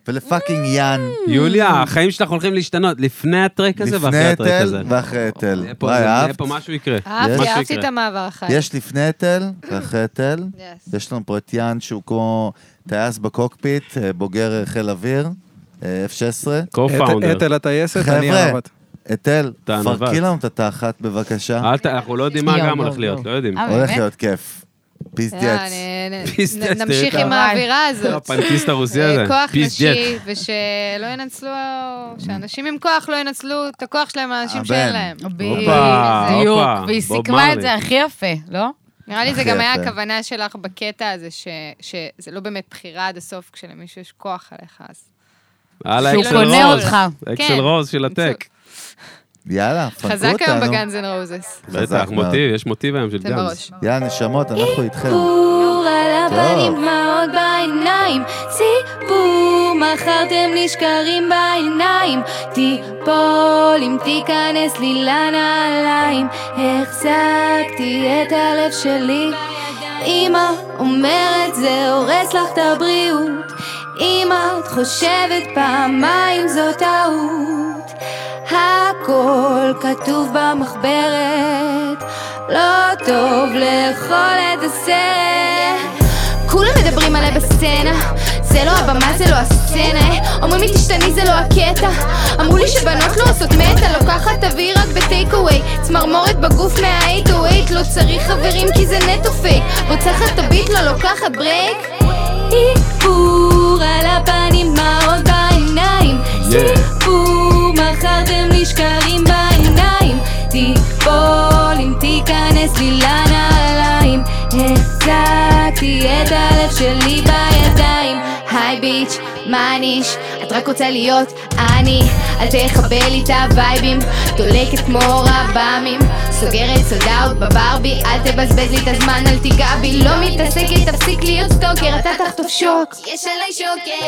ולפאקינג יאן. יוליה, החיים שלך הולכים להשתנות לפני הטרק הזה ואחרי לפני הטרק הזה. אתל ואחרי אתל. יהיה פה- וואי, יהיה אהבת? פה משהו יקרה. אהבתי, משהו אהבתי את יקרה. המעבר החי. יש לפני אתל ואחרי אתל. Yes. יש לנו פה את יאן שהוא כמו טייס בקוקפיט, אה, בוגר אה, חיל אוויר, אה, F-16. co-founder. אתל הטייסת, אני חבר'ה, אהבת. אתל, אתה פרקי ענוות. לנו את התחת בבקשה. אל ת- אנחנו לא יודעים מה יואו, גם הולך יואו, להיות, יואו. לא יודעים. אה, הולך באמת? להיות כיף. יאללה, פיזדיאץ. נ- פיס נ- דץ, נמשיך תראה, עם האווירה הזאת. הפנקיסט לא, הרוסי אה, הזה. כוח פיס ג'ט. נשי, ושלא ינצלו, שאנשים עם כוח לא ינצלו את הכוח שלהם על אנשים הבן. שאין להם. הופה, בדיוק, אה, הופה, והיא בוב סיכמה את מרלי. זה הכי יפה, לא? נראה לי זה הכי גם היה יפה. הכוונה שלך בקטע הזה, ש- שזה לא באמת בחירה עד הסוף, כשלמישהו יש כוח עליך, אז... על שהוא האקסל קונה רוז. אותך. אקסל כן. רוז של הטק. יאללה, פרקו אותנו. חזק היום בגאנז אנד רוזס. בטח, מאוד. מוטיב, יש מוטיב היום של אתם גאנס. בראש. יאללה, נשמות, אנחנו איתכם. סיפור על הפנים, טוב. דמעות בעיניים. סיפור, מכרתם לי שקרים בעיניים. תיפול אם תיכנס לי לנעליים. החזקתי את הלב שלי. אמא אומרת זה הורס לך את הבריאות. אמא, את חושבת פעמיים זו טעות. הכל כתוב במחברת, לא טוב לאכול את הסרט. כולם מדברים עליי בסצנה, זה לא הבמה, זה לא הסצנה. אומרים לי תשתני, זה לא הקטע. אמרו לי שבנות לא עושות מטה, לוקחת אוויר רק בטייק אווי. צמרמורת בגוף מה-8 to 8, לא צריך חברים כי זה נטו פייק. רוצחת את הביט, לא לוקחת ברייק. איפור על הפנים, דמעות בעיניים. Yeah. סיפור, מכרתם לי שקרים בעיניים. תיפול אם תיכנס לי לנעליים. החזקתי את הלב שלי בידיים. היי ביץ', מה ניש? את רק רוצה להיות אני. אל תכבה לי את הווייבים. דולקת כמו רב"מים. סוגרת סולד אאוט בברבי. אל תבזבז לי את הזמן, אל תיגע בי. לא מתעסקת, תפסיק להיות סטוקר. אתה תחטוף שוק. יש עליי שוקר.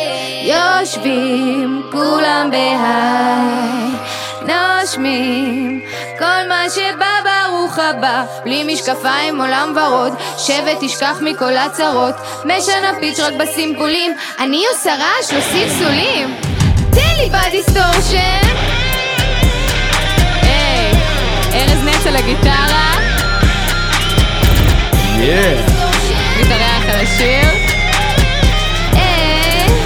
יושבים כולם בהיי, נושמים כל מה שבא ברוך הבא, בלי משקפיים עולם ורוד, שבט תשכח מכל הצרות, משנה פיץ' רק בסימפולים, אני עושה רעש, לא סלסולים. תן לי בדיסטורשן! היי, ארז נץ על הגיטרה, מתארח על השיר. היי.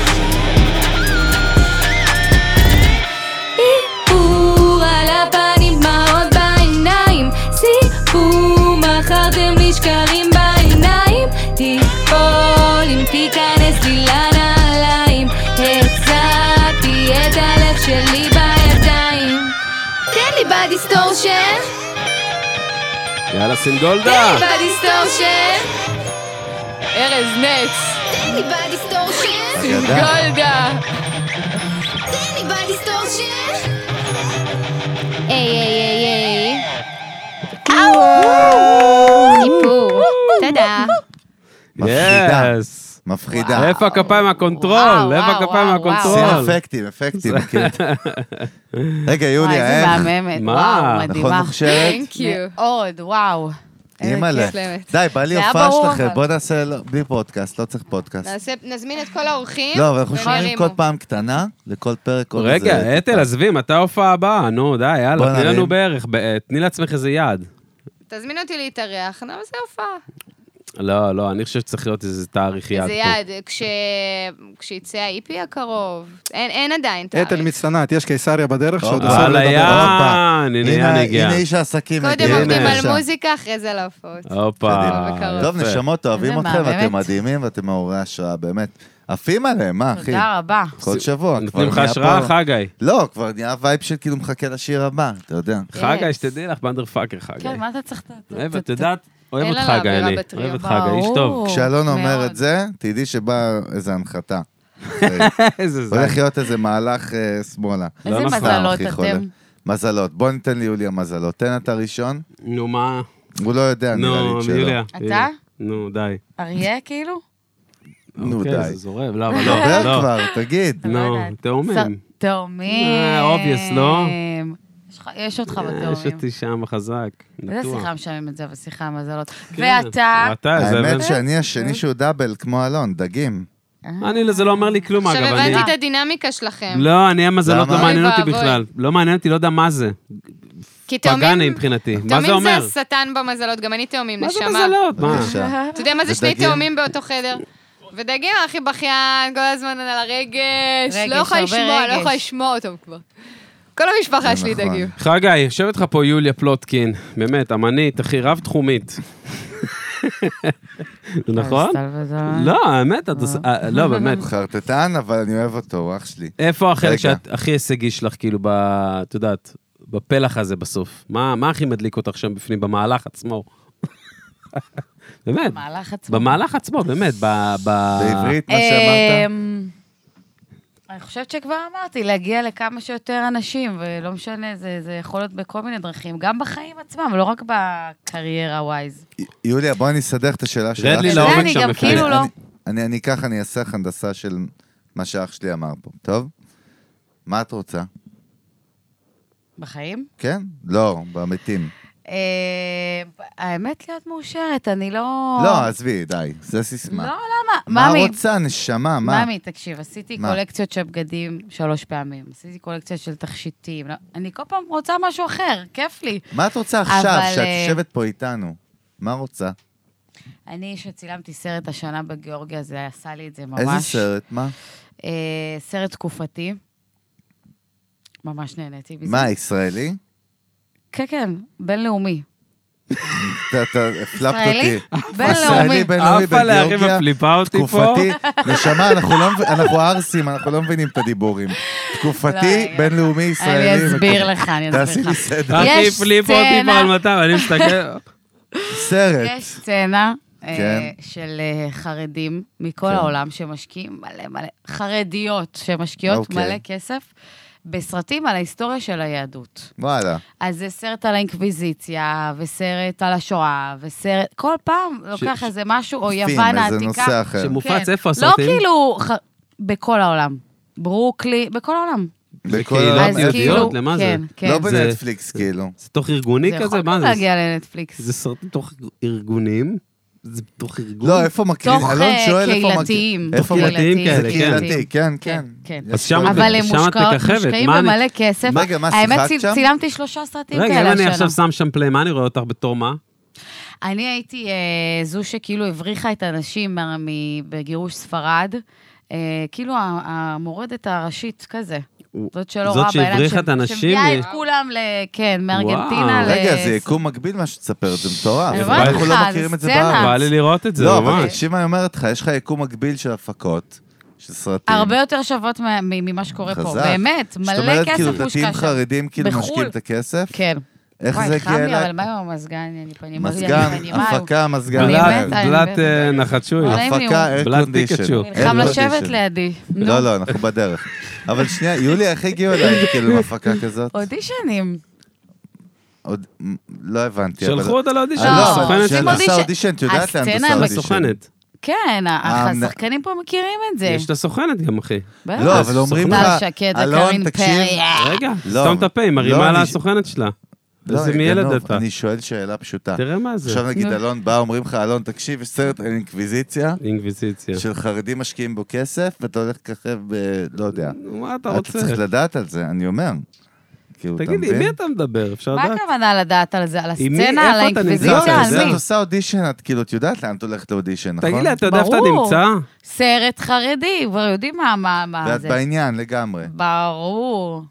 איפור על הפנים, דמעות בעיניים. סיפור, מכרתם לי שקרים בעיניים. תיפול אם תיכנס לי לנעליים. החזקתי את הלב שלי בידיים. תן לי בדיסטורשן, יאללה, תן סינגולדה. לי בדיסטורשן, ארז נץ, תן לי בדיסטורשן, אגדה. גולדה. תן לי בדיסטורשן. היי, היי, היי, אה, היי. אאו! איפור. תודה. מפחידה. יס. מפחידה. איפה הכפיים וואו, מהקונטרול? איפה וואו, הכפיים וואו, עושים מהקונטרול? אפקטים, אפקטים. כאילו. רגע, וואי, יוליה, איזה איך? מהממת, מה? וואו, נכון, מדהימה. מוכשרת? Thank you. מאוד, וואו. איזה אימא'לה. כיף. באמת. די, בא לי זה היה הופעה ברור, שלכם, אבל. בוא נעשה לא- בלי פודקאסט, לא צריך פודקאסט. נעשה- נזמין את כל האורחים. לא, אבל אנחנו והם שומרים ירימו. כל פעם קטנה, לכל פרק עוד איזה... רגע, אתל, עזבי, מתי ההופעה הבאה? נו, די, בוא יאללה, תני נרים. לנו בערך, ב- אה, תני לעצמך איזה יעד. תזמין אותי להתארח, נעשה הופעה. לא, לא, אני חושב שצריך להיות איזה תאריך יעד איזה פה. יעד, כש... כשיצא ה-IP הקרוב. אין, אין עדיין תאריך. אתל מצטנעת, יש קיסריה בדרך שעוד הופה. אסור וואלה, לדבר. יאללה. יען, הנה הנה יען הגיע. הנה איש העסקים. קודם הגיע. עובדים הנה. על מוזיקה, אחרי זה על ההופעות. הופה. קדימה, בקרוב. טוב, יפה. נשמות, אוהבים איזה אתכם, מה, אתם באמת? מדהימים ואתם מעוררי השראה, באמת. עפים עליהם, מה, אחי? תודה רבה. כל שבוע. כבר נותנים לך נהיה השראה, פה- חגי. לא, כבר נהיה וייב של כאילו מחכה לשיר הבא, אתה יודע. חגי, שתדעי לך, בנדר פאקר חגי. כן, מה אתה צריך... את- אוהב, את- את יודעת, אוהב אין אותך עליו חגי, עבירה אני. בטריו, אוהב אותך חגי, איש טוב. ברור. כשאלון אומר מאוד. את זה, תדעי שבאה איזה הנחתה. איזה זין. הולך להיות איזה מהלך אה, שמאלה. איזה לא נכון, מזלות הכי חולה. אתם. מזלות. בוא ניתן ליוליה מזלות. תן אתה ראשון, נו, מה? הוא לא יודע, נראה לי נו, את שלו. יוליה. אתה? נו, די. אריה, כאילו? נו, אוקיי, די. זה זורם, לא, אבל לא, דבר לא. כבר, תגיד. נו, לא יודעת. תאומים. ס- תאומים. אה, obvious, לא? יש לך- יש אותך אה, יש בתאומים. אותי שם חזק, איזה בטוח. שיחה משלמים את זה, אבל שיחה עם מזלות. כן. ואתה? ואתה, זה... האמת שאני השני שהוא דאבל, כמו אלון, דגים. אני, זה לא אומר לי כלום, אגב. עכשיו אני- הבנתי את הדינמיקה שלכם. לא, אני המזלות לא למה? מעניין אוי אותי ואבוי. בכלל. לא מעניין אותי, לא יודע מה זה. כי תאומים- פגאני מבחינתי. מה זה תאומים זה אומר? השטן במזלות, גם אני תאומים, מה זה נשמה. מזלות? מה? בבקשה. אה. אתה יודע מה זה שני ודגים. תאומים באותו חדר? ודגים, הכי בכיין, כל הזמן על הרגש, רגש, לא יכול הרבה לשמוע, לא רגש. יכול לשמוע אותו כבר. כל זה המשפחה שלי נכון. דגים. חגי, יושבת לך פה יוליה פלוטקין, באמת, אמנית, הכי רב-תחומית. זה נכון? לא, האמת, את עושה... אה, לא, באמת. חרטטן, אבל אני אוהב אותו, הוא אח שלי. איפה החלק רגע. שאת הכי הישגי שלך, כאילו, ב... את יודעת, בפלח הזה בסוף? מה מה הכי מדליק אותך שם בפנים, במהלך עצמו? באמת, מהלך עצמו. במהלך עצמו, באמת, ב... ב- בעברית, מה שאמרת? אמ, אני חושבת שכבר אמרתי, להגיע לכמה שיותר אנשים, ולא משנה, זה, זה יכול להיות בכל מיני דרכים, גם בחיים עצמם, לא רק בקריירה ווייז. יוליה, בואי אני אסדר את השאלה שלך. לי אתה יודע, לעומק אני שם גם לפעמים. כאילו אני- לא. אני- אני- אני ככה, אני אעשה לך הנדסה של מה שאח שלי אמר פה, טוב? מה את רוצה? בחיים? כן? לא, במתים. אה, האמת להיות מאושרת, אני לא... לא, עזבי, די, זה סיסמה. לא, למה? מה ממי, רוצה, נשמה? מה? ממי, תקשיב, עשיתי מה? קולקציות של בגדים שלוש פעמים, עשיתי קולקציות של תכשיטים, לא- אני כל פעם רוצה משהו אחר, כיף לי. מה את רוצה עכשיו, אבל, שאת אה, יושבת פה איתנו? מה רוצה? אני, שצילמתי סרט השנה בגיאורגיה, זה עשה לי את זה ממש. איזה סרט? מה? אה, סרט תקופתי. ממש נהניתי מזה. מה, ישראלי? כן, כן, בינלאומי. אתה- אתה הפלפת ישראלי? אותי. בינלאומי. ישראלי, בינלאומי, עפה לאחי בגיאורגיה, מפליפה אותי פה. תקופתי, נשמה, אנחנו לא מב- אנחנו ערסים, אנחנו לא מבינים את הדיבורים. תקופתי, רגע. בינלאומי, ישראלי. לא, אני אסביר ותקופ- לך, אני תעשי אסביר לי לך. סדר. אחי יש הפליפ אותי כבר סצנה. על 200, אני מסתכל. סרט. יש סצנה אה, כן. של אה, חרדים מכל כן. העולם שמשקיעים מלא מלא, חרדיות שמשקיעות אוקיי. מלא כסף בסרטים על ההיסטוריה של היהדות. וואלה. אז זה סרט על האינקוויזיציה, וסרט על השואה, וסרט... כל פעם לוקח איזה משהו, או פים, יוון העתיקה. איזה נושא אחר. שמופץ כן. איפה לא הסרטים? כאילו, ח- בכל העולם. ברוקלי, בכל העולם. בכל בקהילות העולם אז יהודיות, כאילו, למה זה? כן, כן. לא זה- בנטפליקס, כאילו. זה תוך ארגוני זה כזה? יכול מה גם זה? להגיע לנטפליקס. זה סרטים תוך ארגונים? זה תוך ארגון? לא, איפה מקרינים? תוך, אלון אה, שואל איפה מקרינים. קהילתיים. איפה תוך מקרינים? קהילתיים זה כאלה, כן. קהילתי, כן, כן. כן. אז שם את- אבל הם שם את מושקעות- מככבת, מושקעים מה אני- במלא כסף. רגע, מה, האמת, שיחקת צי- שם? צילמתי שלושה סרטים רגע, אם כאלה אני השנה. עכשיו שם שם פליי, מה אני רואה אותך בתור מה? אני הייתי אה, זו שכאילו הבריחה את האנשים מה- מ- בגירוש ספרד. אה, כאילו ה- המורדת הראשית כזה. זאת שלא זאת רואה בעיניים. שהבריחה את ש- האנשים שמביאה מ- את כולם, ל- כן, מארגנטינה. וואו. ל- רגע, זה יקום מקביל מה שתספר, זה מטורף. אני אומרת אנחנו לך, לא זה מכירים את זה סצנה. בארץ. בא לי לראות את זה, לא, אבל ממש. תקשיב מה אני אומרת לך, יש לך יקום מקביל של הפקות, של סרטים. הרבה יותר שוות מה- מ- ממה שקורה פה. חזק. באמת, זאת מלא אומרת, כסף כאילו, מושקע שם. דתיים חרדים כאילו בחו"ל. משקיעים את הכסף? כן. איך וואי, זה חם לי, הגיע אבל אליי? מה עם המזגן? אני פנים, מזגן, אני פנים, הפקה, מזגן. אני בלת- מתה, אני בלת באמת. אה, נחצ'וי. לא נעים לי, הוא- הפקה, בלת אר קונדישן. פיקצ'ו. חם לשבת לידי. לא, לא, אנחנו בדרך. אבל שנייה, יולי, איך הגיעו אליי כאילו עם הפקה כזאת? אודישנים. עוד... מ- לא הבנתי. אבל- אה, שלחו אותה לאודישן, לא, הסוכנת של עושים שלה. הנדסה אודישן. אודישן, את יודעת הסצנה להנדסה עם אודישן. הסוכנת. כן, אה, ה- המנ- השחקנים פה מכירים את זה. יש את הסוכנת גם, אחי. בטח. לא, אבל אומרים הסוכנת. לך, טל שקד אלון, וקארין תקשיב, פרי. אה, רגע, לא. סתום את הפה, היא מרימה לא, על אני- הסוכנת שלה. לא, איזה אני מילד גנוב, אתה. אני שואל שאלה פשוטה. תראה מה זה. עכשיו נגיד נו. אלון בא, אומרים לך, אלון, תקשיב, יש סרט על אינקוויזיציה, אינקוויזיציה. של חרדים משקיעים בו כסף, ואתה הולך לככב ב... לא יודע. נו, מה אתה אתה רוצה? צריך לדעת על זה, אני אומר. כאילו, אתה תגיד לי, עם מבין? מי אתה מדבר? אפשר מה לדעת? הכוונה לדעת על זה? על עם מי? הסצנה? על איפה אתה נמצא? לא, האינקוויזיציה? אבל אתה על זה יודע? את מי? עושה אודישן, את כאילו, את יודעת לאן את הולכת לאודישן, נכון? תגיד לי, אתה יודע איפה אתה ברור. נמצא? סרט חרדי, כבר יודעים מה- מה מה ואת אה, זה. בעניין לגמרי. ברור.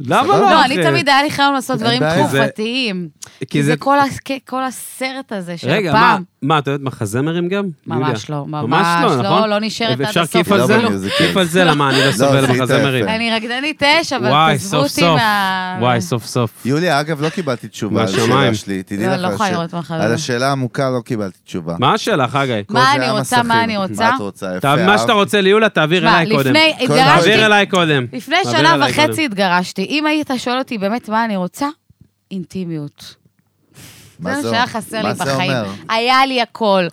למה לא? לא, אחי? אני תמיד היה לי חייב לעשות אין דברים בעיה. זה- תקופתיים. כי זה כל הס- כן, כל הסרט הזה של רגע, מה, הפעם. מה, את יודעת מחזמרים גם? ממש יוליה? לא, ממש לא, נכון? לא נשארת עד ואפשר הסוף כיף על לא זה? במיוזיקל. כיף על זה, למה אני לא סובל עשית מחזמרים? יפה. אני רקדנית אש, אבל וואי, תעזבו סוף אותי סוף. מה... וואי, סוף סוף. יוליה, אגב, לא קיבלתי תשובה על השאלה מהשמיים. שלי, תדעי לא, לך. לא יכולה על הש- לראות מה חייב. על השאלה העמוקה לא קיבלתי תשובה. מה השאלה, חגי? כל מה זה אני היה רוצה, מה מסכים. אני רוצה? מה את רוצה? יפה. אתה- מה שאתה אהבתי. רוצה ליולה, תעביר מה, אליי קודם. לפני, כל התגרשתי, תעביר אליי קודם. לפני תעביר שנה אליי וחצי קודם. התגרשתי. אם היית שואל אותי באמת מה אני רוצה, אינטימיות. מה זה זה מה שהיה אומר? חסר מה לי זה בחיים. אומר? היה לי הכל.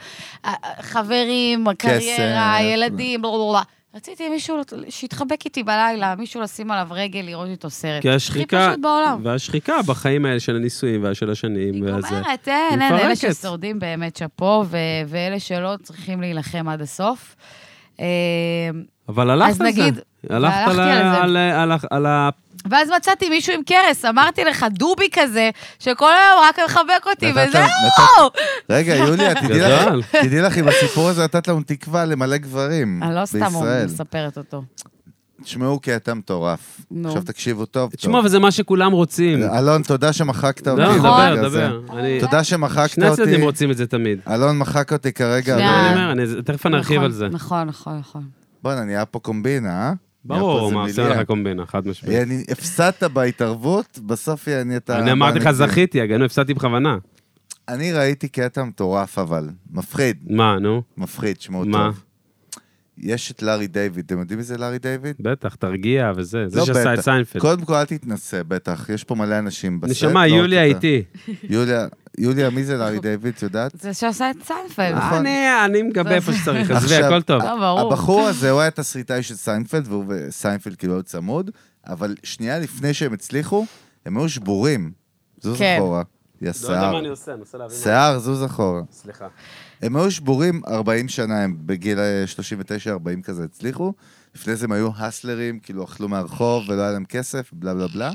ה- חברים, הקריירה, כסף. ילדים, בלה בלה בלה. רציתי מישהו שיתחבק איתי בלילה, מישהו לשים עליו רגל, לראות איתו סרט. כי הכי השחיקה, פשוט בעולם. והשחיקה בחיים האלה של הנישואים והשל השנים. היא והזה. גומרת, אה? אין, היא אין, אלה מפרקת. ששורדים באמת שאפו, ו- ואלה שלא צריכים להילחם עד הסוף. אה, אבל הלכת אז על זה. נגיד, הלכת והלכתי על על זה. ה- על ה- על ה- על ה... ואז מצאתי מישהו עם קרס, אמרתי לך, דובי כזה, שכל היום רק מחבק אותי, נתת- וזהו! רגע, יוליה, תדעי גדול. לך, תדעי לך, עם הסיפור הזה נתת לנו תקווה למלא גברים אני לא סתם בישראל. מספרת אותו. תשמעו קטע מטורף. נו. עכשיו תקשיבו טוב. תשמע, טוב. אבל זה מה שכולם רוצים. אלון, תודה שמחקת אותי. לא, נכון. ברגע דבר, הזה. דבר. אני- תודה שמחקת שני הצדדים אותי. רוצים את זה תמיד. אלון מחק אותי כרגע. שנייה. אבל- לא, אני אומר, אני- תכף אני ארחיב אה, על נכון, זה. נכון, נכון, נכון. בואנה, נהיה פה קומבינה, אה? נהיה פה ברור, איזה מה, עושים מיליארד. לך קומבינה, חד משמעית. אני- הפסדת בהתערבות, בסוף יעני אתה... אני אמרתי לך, אני- זכיתי, הגענו, הפסדתי בכוונה. אני ראיתי קטע מטורף, אבל. מפחיד, מה, נו? מפחיד, תשמעו מה? טוב. יש את לארי דיוויד, אתם יודעים מי זה לארי דיוויד? בטח, תרגיע וזה. זה לא, שעשה את בטח. סיינפלד. קודם כל, אל תתנסה, בטח, יש פה מלא אנשים בסט. נשמה, לא יוליה רוצה. איתי. יוליה, יוליה, מי זה לארי דיוויד, את יודעת? זה שעשה את סיינפלד. נכון. אני אני מגבה איפה שצריך, עזבי, עכשיו, הכל טוב. אה, ברור. הבחור הזה, הוא היה תסריטאי של סיינפלד, והוא וסיינפלד כאילו היו צמוד, אבל שנייה לפני שהם הצליחו, הם היו שבורים. זוז כן. אחורה. יא לא יודע מה שיער. אני עושה, אני מנסה להבין. מה- שיער, זוז אחורה. סליחה. הם היו שבורים 40 שנה, הם בגיל אה, 39-40 כזה הצליחו. לפני זה הם היו הסלרים, כאילו אכלו מהרחוב ולא היה להם כסף, בלה בלה בלה.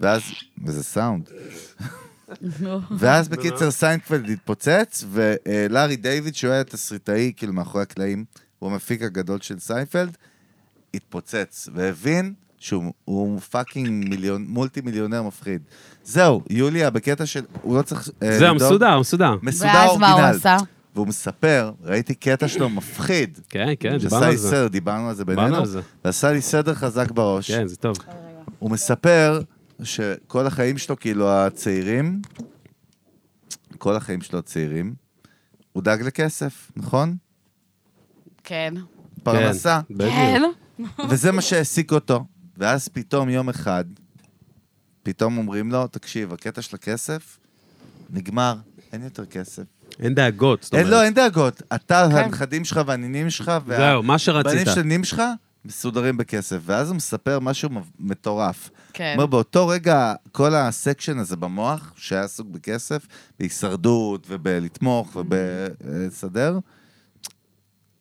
ואז, וזה סאונד. ואז בקיצר סיינפלד התפוצץ, ולארי דיוויד, שהוא היה תסריטאי, כאילו מאחורי הקלעים, הוא המפיק הגדול של סיינפלד, התפוצץ, והבין שהוא הוא פאקינג מיליון, מולטי מיליונר מפחיד. זהו, יוליה, בקטע של, הוא לא צריך... אה, זהו, לדאוג. מסודר, מסודר. מסודר ואז מה הוא אורגינל. עשה? והוא מספר, ראיתי קטע שלו מפחיד. כן, כן, דיברנו שעשה על לי זה. סדר, דיברנו על זה דיברנו בינינו, על זה. ועשה לי סדר חזק בראש. כן, זה טוב. הוא מספר שכל החיים שלו, כאילו, הצעירים, כל החיים שלו הצעירים, הוא דאג לכסף, נכון? כן. פרנסה. כן, בדיוק. כן? וזה מה שהעסיק אותו. ואז פתאום יום אחד, פתאום אומרים לו, תקשיב, הקטע של הכסף נגמר, אין יותר כסף. אין דאגות, זאת אין, לא, אומרת. אין דאגות. אתה, הנכדים שלך והנינים שלך, וה- זהו, מה הבנים שרצית. של הנינים שלך מסודרים בכסף. ואז הוא מספר משהו מב- מטורף. כן. אומר, באותו רגע, כל הסקשן הזה במוח, שהיה עסוק בכסף, בהישרדות ובלתמוך Mm-hmm. ובלסדר,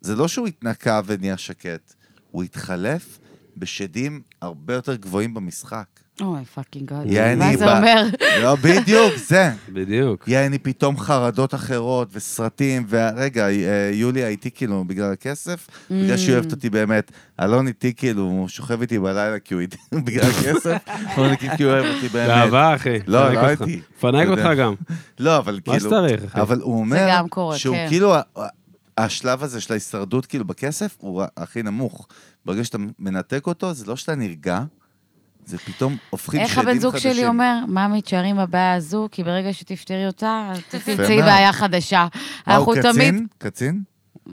זה לא שהוא התנקה ונהיה שקט, הוא התחלף בשדים הרבה יותר גבוהים במשחק. אוי, פאקינג גוד. יעני, מה זה ב- אומר? לא, בדיוק, זה. בדיוק. יעני, פתאום חרדות אחרות וסרטים, ורגע, אה, יוליה איתי כאילו בגלל הכסף, בגלל שהיא Mm. אוהבת אותי באמת. אלון איתי כאילו, הוא שוכב איתי בלילה כי הוא איתי בגלל הכסף, אבל אני כאילו, כי הוא אוהב אותי באמת. גאווה, אחי. לא, פנק לא אותך. הייתי. פנק אתה יודע. אותך גם. לא, אבל מה כאילו... שצריך, אחי. אבל הוא אומר... גם קורה, שהוא כן. כאילו, ה- ה- השלב הזה של ההישרדות כאילו בכסף, הוא ה- הכי נמוך. ברגע שאתה מנתק אותו, זה לא שאתה נרגע, זה פתאום הופכים שדים איך חדשים. הבן זוג שלי אומר? ממי, תשארי עם הבעיה הזו, כי ברגע שתפתרי אותה, את תמצאי מאוד. בעיה חדשה. מה, הוא אנחנו תמיד... קצין? קצין?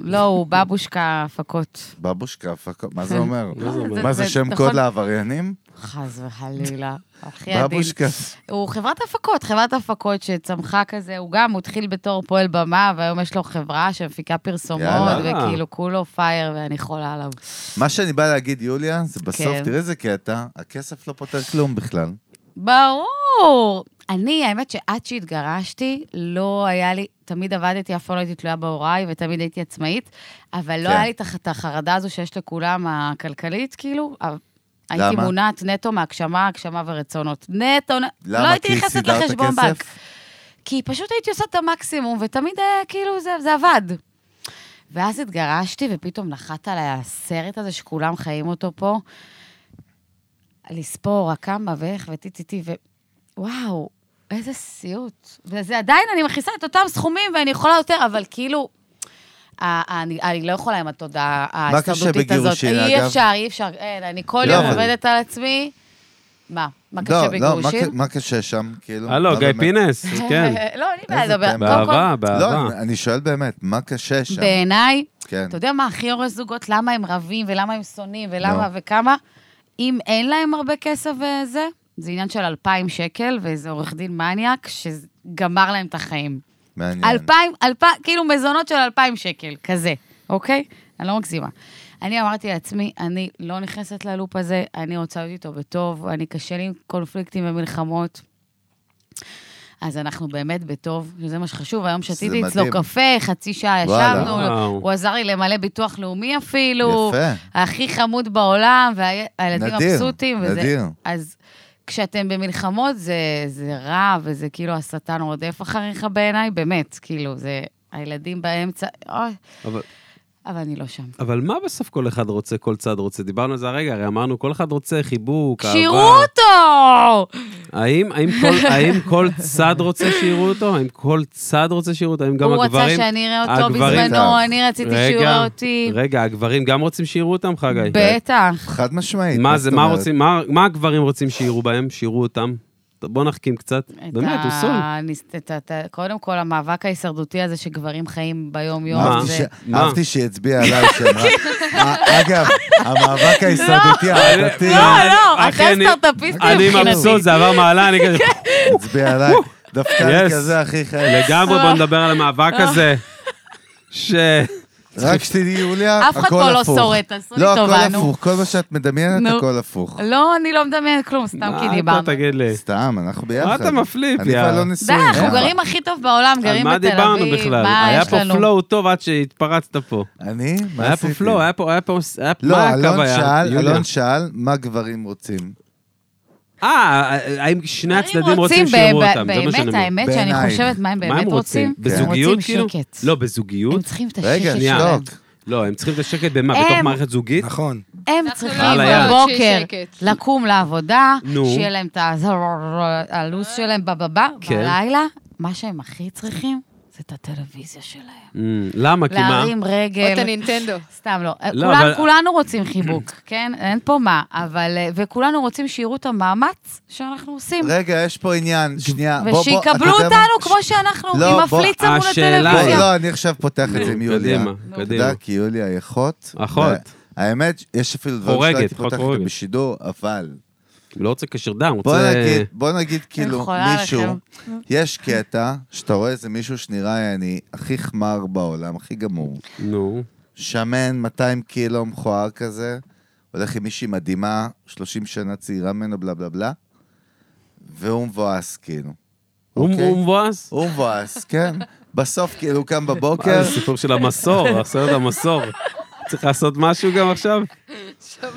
לא, הוא בבושקה הפקות. בבושקה, פקו- מה זה אומר? אומר? מה זה כן. זה- שם נכון. קוד לעבריינים? חס וחלילה. הכי עדין. בבושקה. הוא חברת הפקות, חברת הפקות שצמחה כזה, הוא גם, הוא התחיל בתור פועל במה, והיום יש לו חברה שמפיקה פרסומות, יאללה. וכאילו כולו פייר, ואני חולה עליו. מה שאני בא להגיד, יוליה, זה בסוף, כן. תראה איזה קטע, הכסף לא פותר כלום בכלל. ברור. אני, האמת שעד שהתגרשתי, לא היה לי, תמיד עבדתי, אף פעם לא הייתי תלויה בהוריי, ותמיד הייתי עצמאית, אבל לא כן. היה לי את הח- את החרדה הזו שיש לכולם, הכלכלית, כאילו. אבל הייתי למה? מונעת נטו מהגשמה, הגשמה ורצונות. נטו, נ- למה? לא הייתי כי נכנסת סידרת לחשבון כסף? בנק. כי פשוט הייתי עושה את המקסימום, ותמיד היה כאילו זה, זה עבד. ואז התגרשתי, ופתאום נחת עליי הסרט הזה שכולם חיים אותו פה. לספור רק כמה ואיך וטיטיטי, ווואו, איזה סיוט. וזה עדיין, אני מכניסה את אותם סכומים ואני יכולה יותר, אבל כאילו, ה- אני, אני לא יכולה עם התודעה קשה ההישרדותית הזאת. בגירושין, אי אגב? אפשר, אי אפשר, אין, אני כל לא, יום אבל- עובדת על עצמי. מה? מה קשה לא, לא, מה בגירושין? ק- מה קשה שם, כאילו? הלו, לא גיא באמת. פינס, כן. לא, אני איזה בעד לדבר. טמבל. קודם כל, באהבה, לא, באהבה. אני שואל באמת, מה קשה שם? בעיניי, כן. אתה יודע מה הכי הורס זוגות? למה הם רבים, ולמה הם שונאים, ולמה נו. וכמה? אם אין להם הרבה כסף וזה, זה עניין של 2,000 שקל, ואיזה עורך דין מניאק שגמר להם את החיים. מעניין. 2,000, 2,000, כאילו מזונות של 2,000 שקל, כזה, אוקיי? אני לא מגזימה. אני אמרתי לעצמי, אני לא נכנסת ללופ הזה, אני רוצה להיות איתו בטוב, אני קשה לי עם קונפליקטים ומלחמות. אז אנחנו באמת בטוב, שזה מה שחשוב. היום שתיתי מדהים. אצלו קפה, חצי שעה וואלה. ישבנו, וואו. הוא עזר לי למלא ביטוח לאומי אפילו. יפה, הכי חמוד בעולם, והילדים נדיר, מבסוטים. וזה- נדיר. אז כשאתם במלחמות זה, זה רע, וזה כאילו השטן רודף אחריך בעיניי, באמת, כאילו, זה הילדים באמצע, אוי, אבל- אבל אני לא שם. אבל מה בסוף כל אחד רוצה, כל צד רוצה? דיברנו על זה הרגע, הרי אמרנו, כל אחד רוצה חיבוק, אהבה. כשירו אותו! האם, האם, כל, האם כל צד רוצה שיראו אותו? האם כל צד רוצה שיראו אותו? האם גם הוא הגברים... רצה שאני אראה אותו הגברים- בזמנו, אני רציתי שהוא רגע, יראה אותי. רגע, הגברים גם רוצים שיראו אותם, חגי? בטח. חד משמעית. מה זאת זה, מה אומרת? רוצים, מה, מה הגברים רוצים שיראו בהם, שיראו אותם? ט- בוא נחכים קצת. את באמת, ה- הוא סול. ניס- את ה- את ה- קודם כל, המאבק ההישרדותי הזה שגברים חיים ביום-יום. מה? אהבתי זה- ש- מה? אהבתי שהיא הצביעה עליי שאמרה... אה, אגב, המאבק ההישרדותי העדתי לא, לא, אחי, אתה אני- סטארט-אפיסט אני מבחינתי. מבסוט, זה עבר מעלה, אני כזה... הצביע עליי. דווקא אני Yes. כזה הכי חי. לגמרי, לא- בוא נדבר על המאבק הזה. ש... רק שתדעי, יוליה, אף אחד הכל פה לא הפוך. שורד, תעשו לי לא, טובה, הכל נו. הפוך. כל מה שאת מדמיינת, נו. הכל הפוך. לא, אני לא מדמיינת כלום, סתם מה כי אתה דיברנו. תגיד לי. סתם, אנחנו ביחד. אתה מפליפ, אני יאללה. כבר לא די, נשוי. די, אנחנו גרים הכי טוב בעולם, על גרים בתל מה אביב, דיברנו בכלל? מה היה יש פה לנו? פלואו טוב עד שהתפרצת פה. אני? מה היה פה עשיתי? פלואו, היה פה, היה פה, היה פה, לא, מה הקו אלון היה? שאל, יוליה? אלון שאל מה גברים רוצים. אה, האם שני הצדדים גברים רוצים שיראו ב- אותם, זה מה שאני באמת, אומר. האמת שאני בעיניי. חושבת מה הם מה באמת הם רוצים. כן. בזוגיות כאילו? רוצים שקט. לא, הם בזוגיות? צריכים את רגע, השקט שנייה. שלהם. שתוק. לא, הם צריכים את השקט במה? הם- בתוך מערכת זוגית? נכון. הם אנחנו צריכים לא יהיה בבוקר שקט. לקום לעבודה, נו. שיהיה להם את ה- הלו"ז שלהם בבבא, כן. בלילה, מה שהם הכי צריכים זה את הטלוויזיה שלהם. אמ, למה? כי מה? להרים רגל. או את הנינטנדו. סתם לא. לא, כולנו, אבל- כולנו רוצים חיבוק, כן? אין פה מה, אבל... אה, וכולנו רוצים שיראו את המאמץ שאנחנו עושים. רגע, יש פה עניין, שנייה. בוא, בוא, אתה ושיקבלו יודע מה? אותנו כמו שאנחנו, לא, עם בוא, הפליצה מול השאלה בוא, היא- הטלוויזיה. לא, אני עכשיו פותח את זה עם נו, יוליה. קדימה, אתה קדימה. יודע, כי יוליה היא אחות. אחות. ו- האמת, יש אפילו דברים חורגת, שלא הייתי אחות פותח אותם חורגת. בשידור, אבל... לא רוצה קשר דם, בוא רוצה... נגיד, בוא נגיד כאילו יכולה מישהו, לכם. יש קטע שאתה רואה איזה מישהו שנראה אני הכי חמר בעולם, הכי גמור. נו. שמן, 200 קילו, מכוער כזה, הולך עם מישהי מדהימה, 30 שנה צעירה ממנו, בלה בלה בלה, והוא מבואס כאילו. הוא אוקיי. הוא מבואס? הוא מבואס, כן. בסוף כאילו הוא קם מה בבוקר, זה סיפור של המסור, הסרט המסור. צריך לעשות משהו גם עכשיו?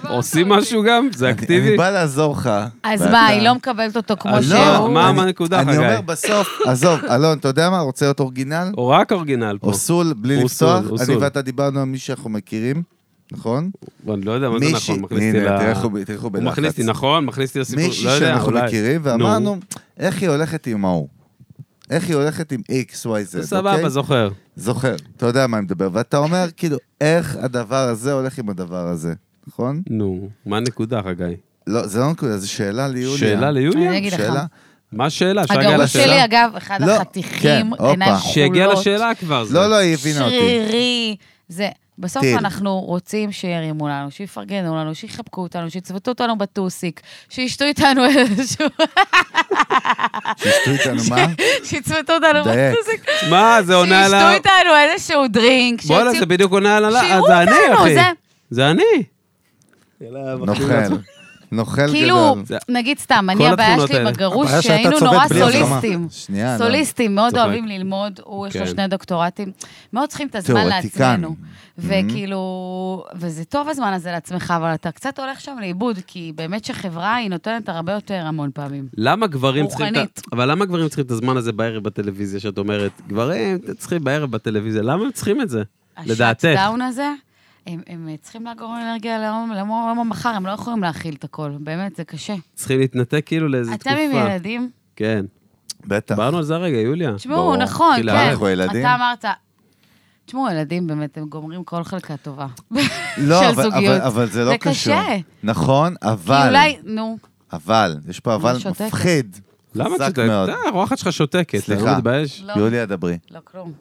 עושים משהו גם? זה אני אקטיבי? בא לעזור לך. אז ואתה- מה, היא לא מקבלת אותו כמו אז לא, שהוא? מה- אני- מה הנקודה, אני חגי? אומר בסוף, עזוב, אלון, אתה יודע מה? רוצה להיות אורגינל? או רק אורגינל פה. או סול, בלי הוא לפתוח. סול, הוא אני סול. ואתה דיברנו על מי שאנחנו מכירים, נכון? אני לא יודע מה זה מישהי, נכון, מכניס אותי הנה, תראה ל... איך הוא- תראה איך הוא הוא מכניס בלחץ. אותי, נכון? מכניס אותי לסיפור, מישהי לא יודע, שאנחנו אולי. מכירים, ואמרנו, איך היא הולכת עם ההוא? איך היא הולכת עם X, Y, Z, אוקיי? נו, סבבה, זוכר. זוכר. אתה יודע מה אני מדבר, ואתה אומר, כאילו, איך הדבר הזה הולך עם הדבר הזה, נכון? נו, מה הנקודה, חגי? לא, זה לא נקודה, זו שאלה ליוליה. שאלה ליוליה? אני אגיד לך. שאלה? מה השאלה? אפשר להגיע הגרוע לשאלה? שלי, אגב, אחד לא, החתיכים, כן, עיניים הופה. שכולות. שיגיע לשאלה כבר. זה. לא, לא, היא הבינה אותי. שרירי. זה, בסוף טיל. אנחנו רוצים שירימו לנו, שיפרגנו לנו, שיחבקו אותנו, שיצבטו אותנו בטוסיק, שישתו איתנו איזשהו... שישתו איתנו, מה? שיצבטו אותנו דייק. בטוסיק. מה, זה עונה על שישתו ה... איתנו איזשהו דרינק. בואנה, שיוציאו- זה אה, בדיוק עונה על ה... שיראו זה אני, אותנו, אחי. זה- לא זה אני. נוכל. נוכל גדול. כאילו, זה- נגיד סתם, אני כל הבעיה התכונות שלי עם האלה. הגרוש, הבעיה שאתה שהיינו צובט נורא בלי הסכמה. סוליסטים. שנייה, לא. סוליסטים, מאוד צוחק. אוהבים ללמוד, הוא יש לו כן. שני דוקטורטים, מאוד צריכים את הזמן תיאורטיקן. לעצמנו. Mm-hmm. וכאילו, וזה טוב הזמן הזה לעצמך, אבל אתה קצת הולך שם לאיבוד, כי באמת שחברה היא נותנת הרבה יותר המון פעמים. למה גברים צריכים... את רוחנית. ה- אבל למה גברים צריכים את הזמן הזה בערב בטלוויזיה, שאת אומרת, גברים אתם צריכים בערב בטלוויזיה, למה הם צריכים את זה? לדעתך. השאט-דאון הזה, הם, הם צריכים לאגור אנרגיה ליום, ליום, ליום המחר, הם לא יכולים להכיל את הכל, באמת, זה קשה. צריכים להתנתק כאילו לאיזו אתם עם תקופה. ילדים? כן. בטח. דיברנו על זה הרגע, יוליה. תשמעו, ברור. נכון, כאילו, כן. אנחנו ילדים. אתה אמרת, תשמעו, ילדים באמת, הם גומרים כל חלקה טובה. לא, של אבל- זוגיות. אבל- אבל זה לא זה קשור. קשה. נכון, כי אבל, אולי, נו, אבל, יש פה אבל שותקת. מפחיד. למה את חזק שותקת? מאוד. אה, הרוחת שלך שותקת, אתה לא סליחה. מתבייש? לא, יוליה, דברי. לא כלום.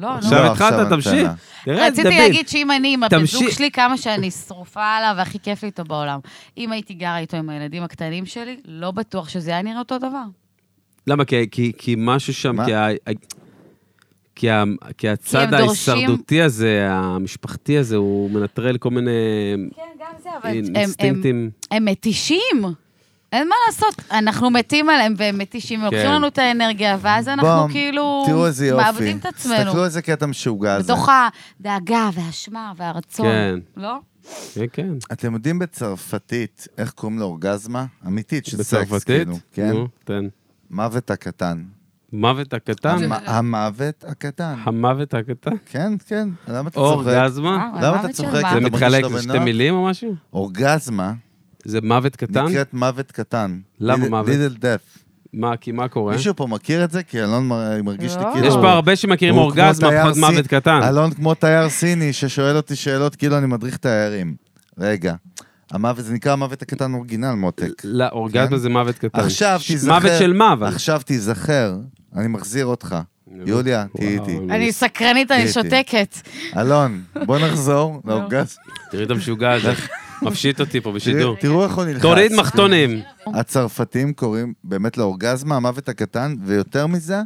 לא, נו. עכשיו לא, התחלת, עכשיו לא. תמשיך. המתנה. תראה, איזה רציתי דביל. להגיד שאם אני עם הבן זוג תמשיך. שלי, כמה שאני שרופה עליו והכי כיף לי איתו בעולם. אם הייתי גרה איתו עם הילדים הקטנים שלי, לא בטוח שזה היה נראה אותו דבר. למה? כי- כי- כי משהו שם, מה? כי ה- ה- כי ה- כי הצד דורשים- ההישרדותי הזה, המשפחתי הזה, הוא מנטרל כל מיני כן, גם זה, אינסטינקטים. הם מתישים. אין מה לעשות, אנחנו מתים עליהם והם מתישים, ולוקחים כן. לנו את האנרגיה, ואז בום, אנחנו כאילו תראו איזה יופי. מאבדים את עצמנו. תסתכלו איזה קטע משוגע הזה. בתוך הדאגה והאשמה והרצון. כן. לא? כן, כן. אתם יודעים בצרפתית איך קוראים לאורגזמה? אמיתית של סקס, בצרפתית? כאילו. כן. נו, תן. מוות הקטן. מוות הקטן? המ- המוות הקטן. המוות הקטן? כן, כן. למה אתה צוחק? אורגזמה? אה, למה אתה מוות של צוחק? מה? אתה זה מרגיש מתחלק לא לשתי בנוח? מילים או משהו? אורגזמה זה מוות קטן? נקראת מוות קטן. למה מוות? לידל דף. מה, כי מה קורה? מישהו פה מכיר את זה? כי אלון מ- מרגיש לי לא. כאילו... יש פה הרבה שמכירים הוא כמו אורגזמה, תייר פחות סי- מוות קטן. אלון כמו תייר סיני ששואל אותי שאלות כאילו אני מדריך תיירים. רגע. המוות, זה נקרא המוות הקטן אורגינל, מותק. לא, כן. אורגזמה זה מוות קטן. עכשיו ש- תיזכר. מוות של מה, אבל? עכשיו תיזכר, אני מחזיר אותך. יוליה, תהיי וואו, איתי. אני סקרנית, אני הייתי. שותקת. אלון, בוא נחזור לאורגז. תראי את המשוגע הזה, מפשיט אותי פה בשידור. תראו- תראו איך הוא נלחץ. תוריד מחטונים. הצרפתים קוראים באמת לאורגזמה המוות הקטן, ויותר מזה,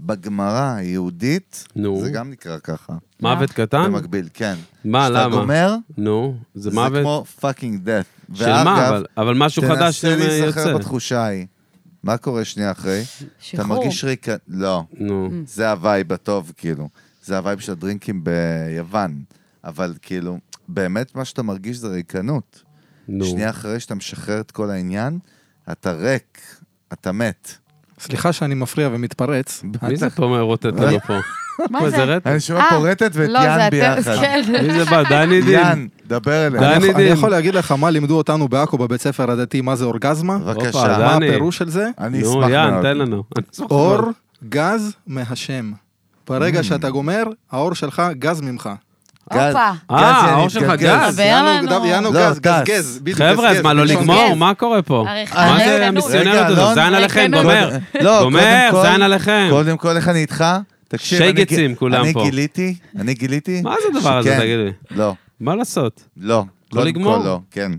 בגמרא היהודית, נו. זה גם נקרא ככה. מוות קטן? במקביל, כן. אה? מה, כשאתה למה? גומר, נו, זה זה מוות כמו פאקינג דאט. של מה, אבל? אבל משהו חדש תנסה שם להיזכר יוצא. בתחושה ההיא. מה קורה שנייה אחרי? אתה שחרור. מרגיש ריקה... לא. נו, זה הווייב הטוב, כאילו. זה הווייב של הדרינקים ביוון. אבל כאילו, באמת מה שאתה מרגיש זה ריקנות. נו. שנייה אחרי שאתה משחרר את כל העניין, אתה ריק, אתה מת. סליחה שאני מפריע ומתפרץ. מי זה פה מאירוטט לנו פה? מה זה זה? רטט? אני שומע אה, פה רטט ואת לא, זה יאן אתם, ביחד. כן. מי זה בא? דני דין? יאן, דבר דני אליה. אני יכול- אני דין. יכול להגיד לך מה לימדו אותנו בעכו בבית ספר הדתי, מה זה אורגזמה? הופה, דני. בבקשה. מה הפירוש של זה? אני לא אשמח נו, מאוד. יאן, תן לנו. אני אשמח אור מאוד. גז מהשם. Mm. ברגע שאתה גומר, האור שלך גז ממך. גז- הופה. גז, אה, יאני, האור שלך כן, גז. דבר יענו, לנו. דב- יענו לא, גז, גז, גז. גז, בדיוק, גז, חבר'ה, אז גז, מה, לא בלשון נגמור? גז. מה קורה פה? הרי- מה זה הרי- המיסיונר אה, רגע, הזה? אלון, זיין עליכם, ריקנות. גומר. לא, גומר, קודם כל- זיין עליכם. קודם כל, איך אני איתך? תקשיב, אני שייגצים גיל- כולם אני פה. גיליתי, אני גיליתי... מה זה הדבר הזה, שכן, תגיד לי? לא, מה לעשות? לא. קודם לגמור? כל לא, כן.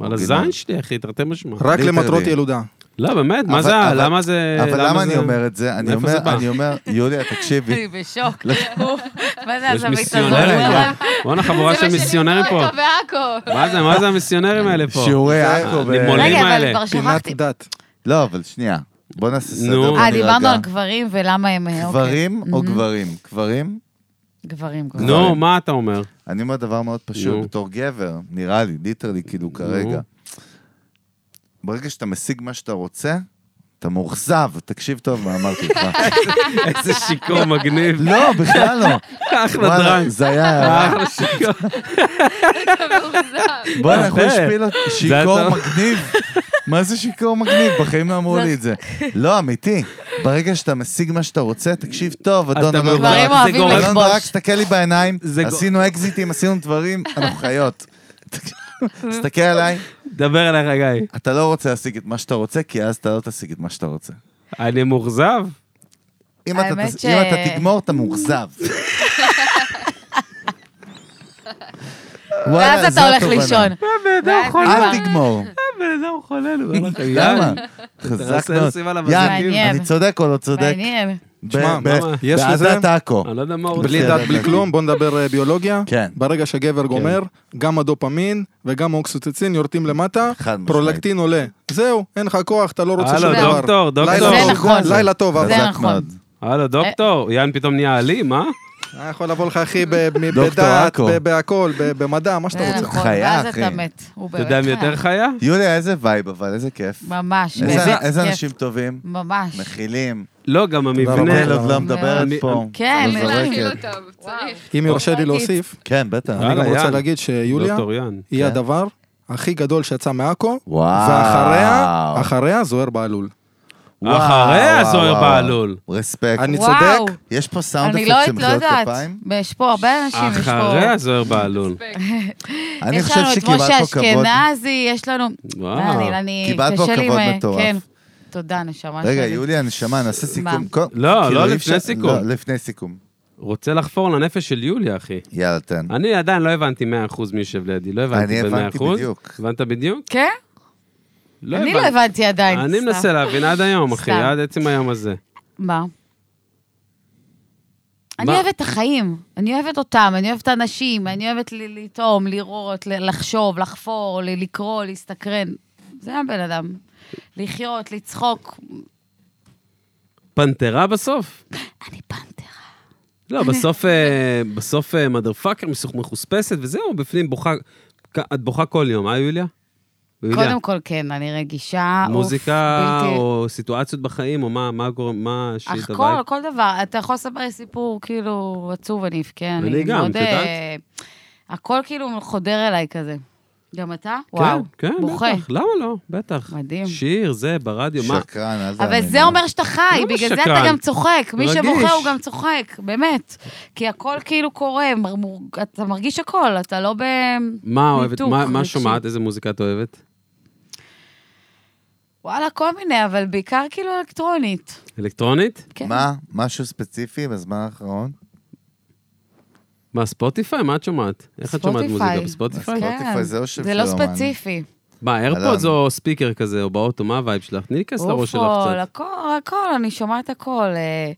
וואלה, זין שלי, אחי, תרתי משמע. רק ליטרלי. למטרות ילודה. לא, באמת, מה אבל- זה, אבל- אה, למה זה... אבל למה אני זה- אומר את זה? אני מאיפה אומר, זה בא? אני אומר, יוליה, אני תקשיבי. בשוק. לא. מה זה יש הזווית הזאת? מיסיונרים פה. בואנה, חבורה של זה מה מיסיונרים שלימדו פה. אותו בעכו. מה זה, מה זה המיסיונרים האלה פה? שיעורי עכו. ב- נימולים. רגע, אבל האלה. כבר פינת שכחתי. דת. לא, אבל שנייה. בוא נעשה סדר. נו. בוא אה, נירגע. דיברנו על גברים ולמה הם... אה, אוקיי. גברים או Mhm. גברים? גברים? גברים, גברים. נו, מה אתה אומר? אני אומר דבר מאוד נו. פשוט, בתור גבר, נראה לי, ליטרלי, כאילו כרגע. ברגע שאתה משיג מה שאתה רוצה, אתה מאוכזב, תקשיב טוב מה אמרתי לך. איזה שיכור מגניב. לא, בכלל לא. אחלה וואלה, דרנק. אה, זה היה הערה. אחלה שיכור. בוא'נה, איך הוא יפה. השפיל אותי. היה שיכור טוב. מגניב. מה זה שיכור מגניב? בחיים לא אמרו לי את זה. לא, אמיתי. ברגע שאתה משיג מה שאתה רוצה, תקשיב טוב, אדון אתה אלון מבין, גברים זה ברק. אוהבים גורם- אלון לכבוש. ברק, תסתכל לי בעיניים, זה גו- עשינו אקזיטים, עשינו דברים, אנחנו חיות. תסתכל עליי, דבר אליך, גיא. אתה לא רוצה להשיג את מה שאתה רוצה, כי אז אתה לא תשיג את מה שאתה רוצה. אני מאוכזב? אם אתה האמת תס- ש- אם אתה תגמור, אתה מאוכזב. וואלה, ואז אתה זו הולך התובנה. לישון. ואז אל נגמר. תגמור. אה, בן אדם חולה, נו, אין לך למה? תנסה חזק מאוד. לשים עליו יאן, אזיקים. מעניין. אני צודק או לא צודק? מעניין. תשמע, ב- ב- יש בעזה לזה- טאקו. אני לא יודע מה הוא בלי רוצה. בסדר, דת, בלי כן. כלום, בוא נדבר אה, ביולוגיה. כן. ברגע שהגבר גומר, גם הדופמין וגם האוקסיטוצין יורדים למטה, חד משמעית. פרולקטין עולה. זהו, אין לך כוח, אתה לא רוצה הלו, שום דבר. דוקטור, דוקטור. לילה זה טוב, נכון. לילה טוב, אבל. זה חזק נכון. מאוד. הלו, אה. דוקטור, יאן פתאום נהיה אלים, אה? אה, יכול לבוא לך, אחי, ב- ב- דוקטור בדת, עכו. ב- בהכל, ב- במדע, מה שאתה זה רוצה. נכון, חיה, ואז אחי. אתה מת. הוא אתה יודע באמת מי יותר חיה? יוליה, איזה וייב, אבל איזה כיף. ממש, איזה- באמת איזה כיף. אנשים טובים, ממש. מכילים. לא, גם המבנה. נל עוד לא מדברת אני- פה. כן, לא אלוהים. זורקת. להכיל אותם, צריך. אם יורשה לי ראיתי את זה. להוסיף, כן, בטח. אה, אני גם יאללה, רוצה יאן. להגיד שיוליה דוקטור יאן. היא כן. הדבר הכי גדול שיצא מעכו, וואו. ואחריה, אחריה זוהר בהלול. וואו, אחריה וואו, זוהיר וואו. בהלול. רספקט. אני וואו. צודק? יש פה סאונד אני אפקט לא של לא מחיאות יודעת. כפיים? יש פה הרבה אנשים, יש פה... אחריה זוהיר בהלול. אני חושב שקיבלת יש פה לנו את כבוד. משה אשכנזי, יש לנו... וואו. אני- אני- קיבלת פה קשה לי עם- כבוד מטורף. כן. תודה, נשמה שלי. רגע, יוליה, נשמה, נעשה סיכום. מה? כל- לא, כאילו, לא אי לפני אפשר- סיכום. לא, לפני סיכום. רוצה לחפור לנפש של יוליה, אחי. יאללה, תן. אני עדיין לא הבנתי 100% מי יושב לידי, לא הבנתי אני ב-100%. הבנתי בדיוק. הבנת בדיוק? כן? לא אני לא הבנתי עדיין. אני סתם. מנסה להבין עד היום, אחי, סתם. עד עצם היום הזה. מה? אני מה? אוהבת את החיים, אני אוהבת אותם, אני אוהבת את האנשים, אני אוהבת ל- לטעום, לראות, ל- לחשוב, לחפור, ל- לקרוא, להסתקרן. זה הבן אדם. לחיות, לצחוק. פנתרה בסוף? אני פנתרה. לא, בסוף, אה, בסוף מדרפאקר, מחוספסת וזהו, בפנים בוכה, כ- את בוכה כל יום, אה יוליה? יוליה, קודם כל, כן, אני רגישה. אוף, מוזיקה בלתי- או סיטואציות בחיים, או מה, מה גורם, מה אך שיט כל, הבית? כל דבר. אתה יכול לספר לי סיפור כאילו עצוב, אני אבכה. אני גם, את יודעת? אה, הכל כאילו חודר אליי כזה. גם אתה? וואו. כן, כן, בוכה. בטח, למה לא? בטח. מדהים. שיר, זה, ברדיו, מה? שקרן, אל תאמין. אבל זה אומר שאתה חי, לא בגלל זה שקרן. אתה גם צוחק. מי רגיש. שבוכה הוא גם צוחק, באמת. כי הכל כאילו קורה, מר- מור- אתה מרגיש הכל, אתה לא ב... מה אוהבת, ניתוק מה- מה רגשי. שומעת, איזה מוזיקה את אוהבת? וואלה, כל מיני, אבל בעיקר כאילו אלקטרונית. אלקטרונית? כן. מה? משהו ספציפי בזמן האחרון? מה, ספוטיפיי? מה את שומעת? איך את שומעת ספוטיפיי. מוזיקה? בספוטיפיי? אז כן. ספוטיפיי זה אושר זה לא של אומן. ספציפי. מה, איירפודס או ספיקר כזה, או באוטו, מה הווייב שלך? תני לי כס לראש שלך אופול, קצת. הכל, הכל, אני שומעת הכל. אה,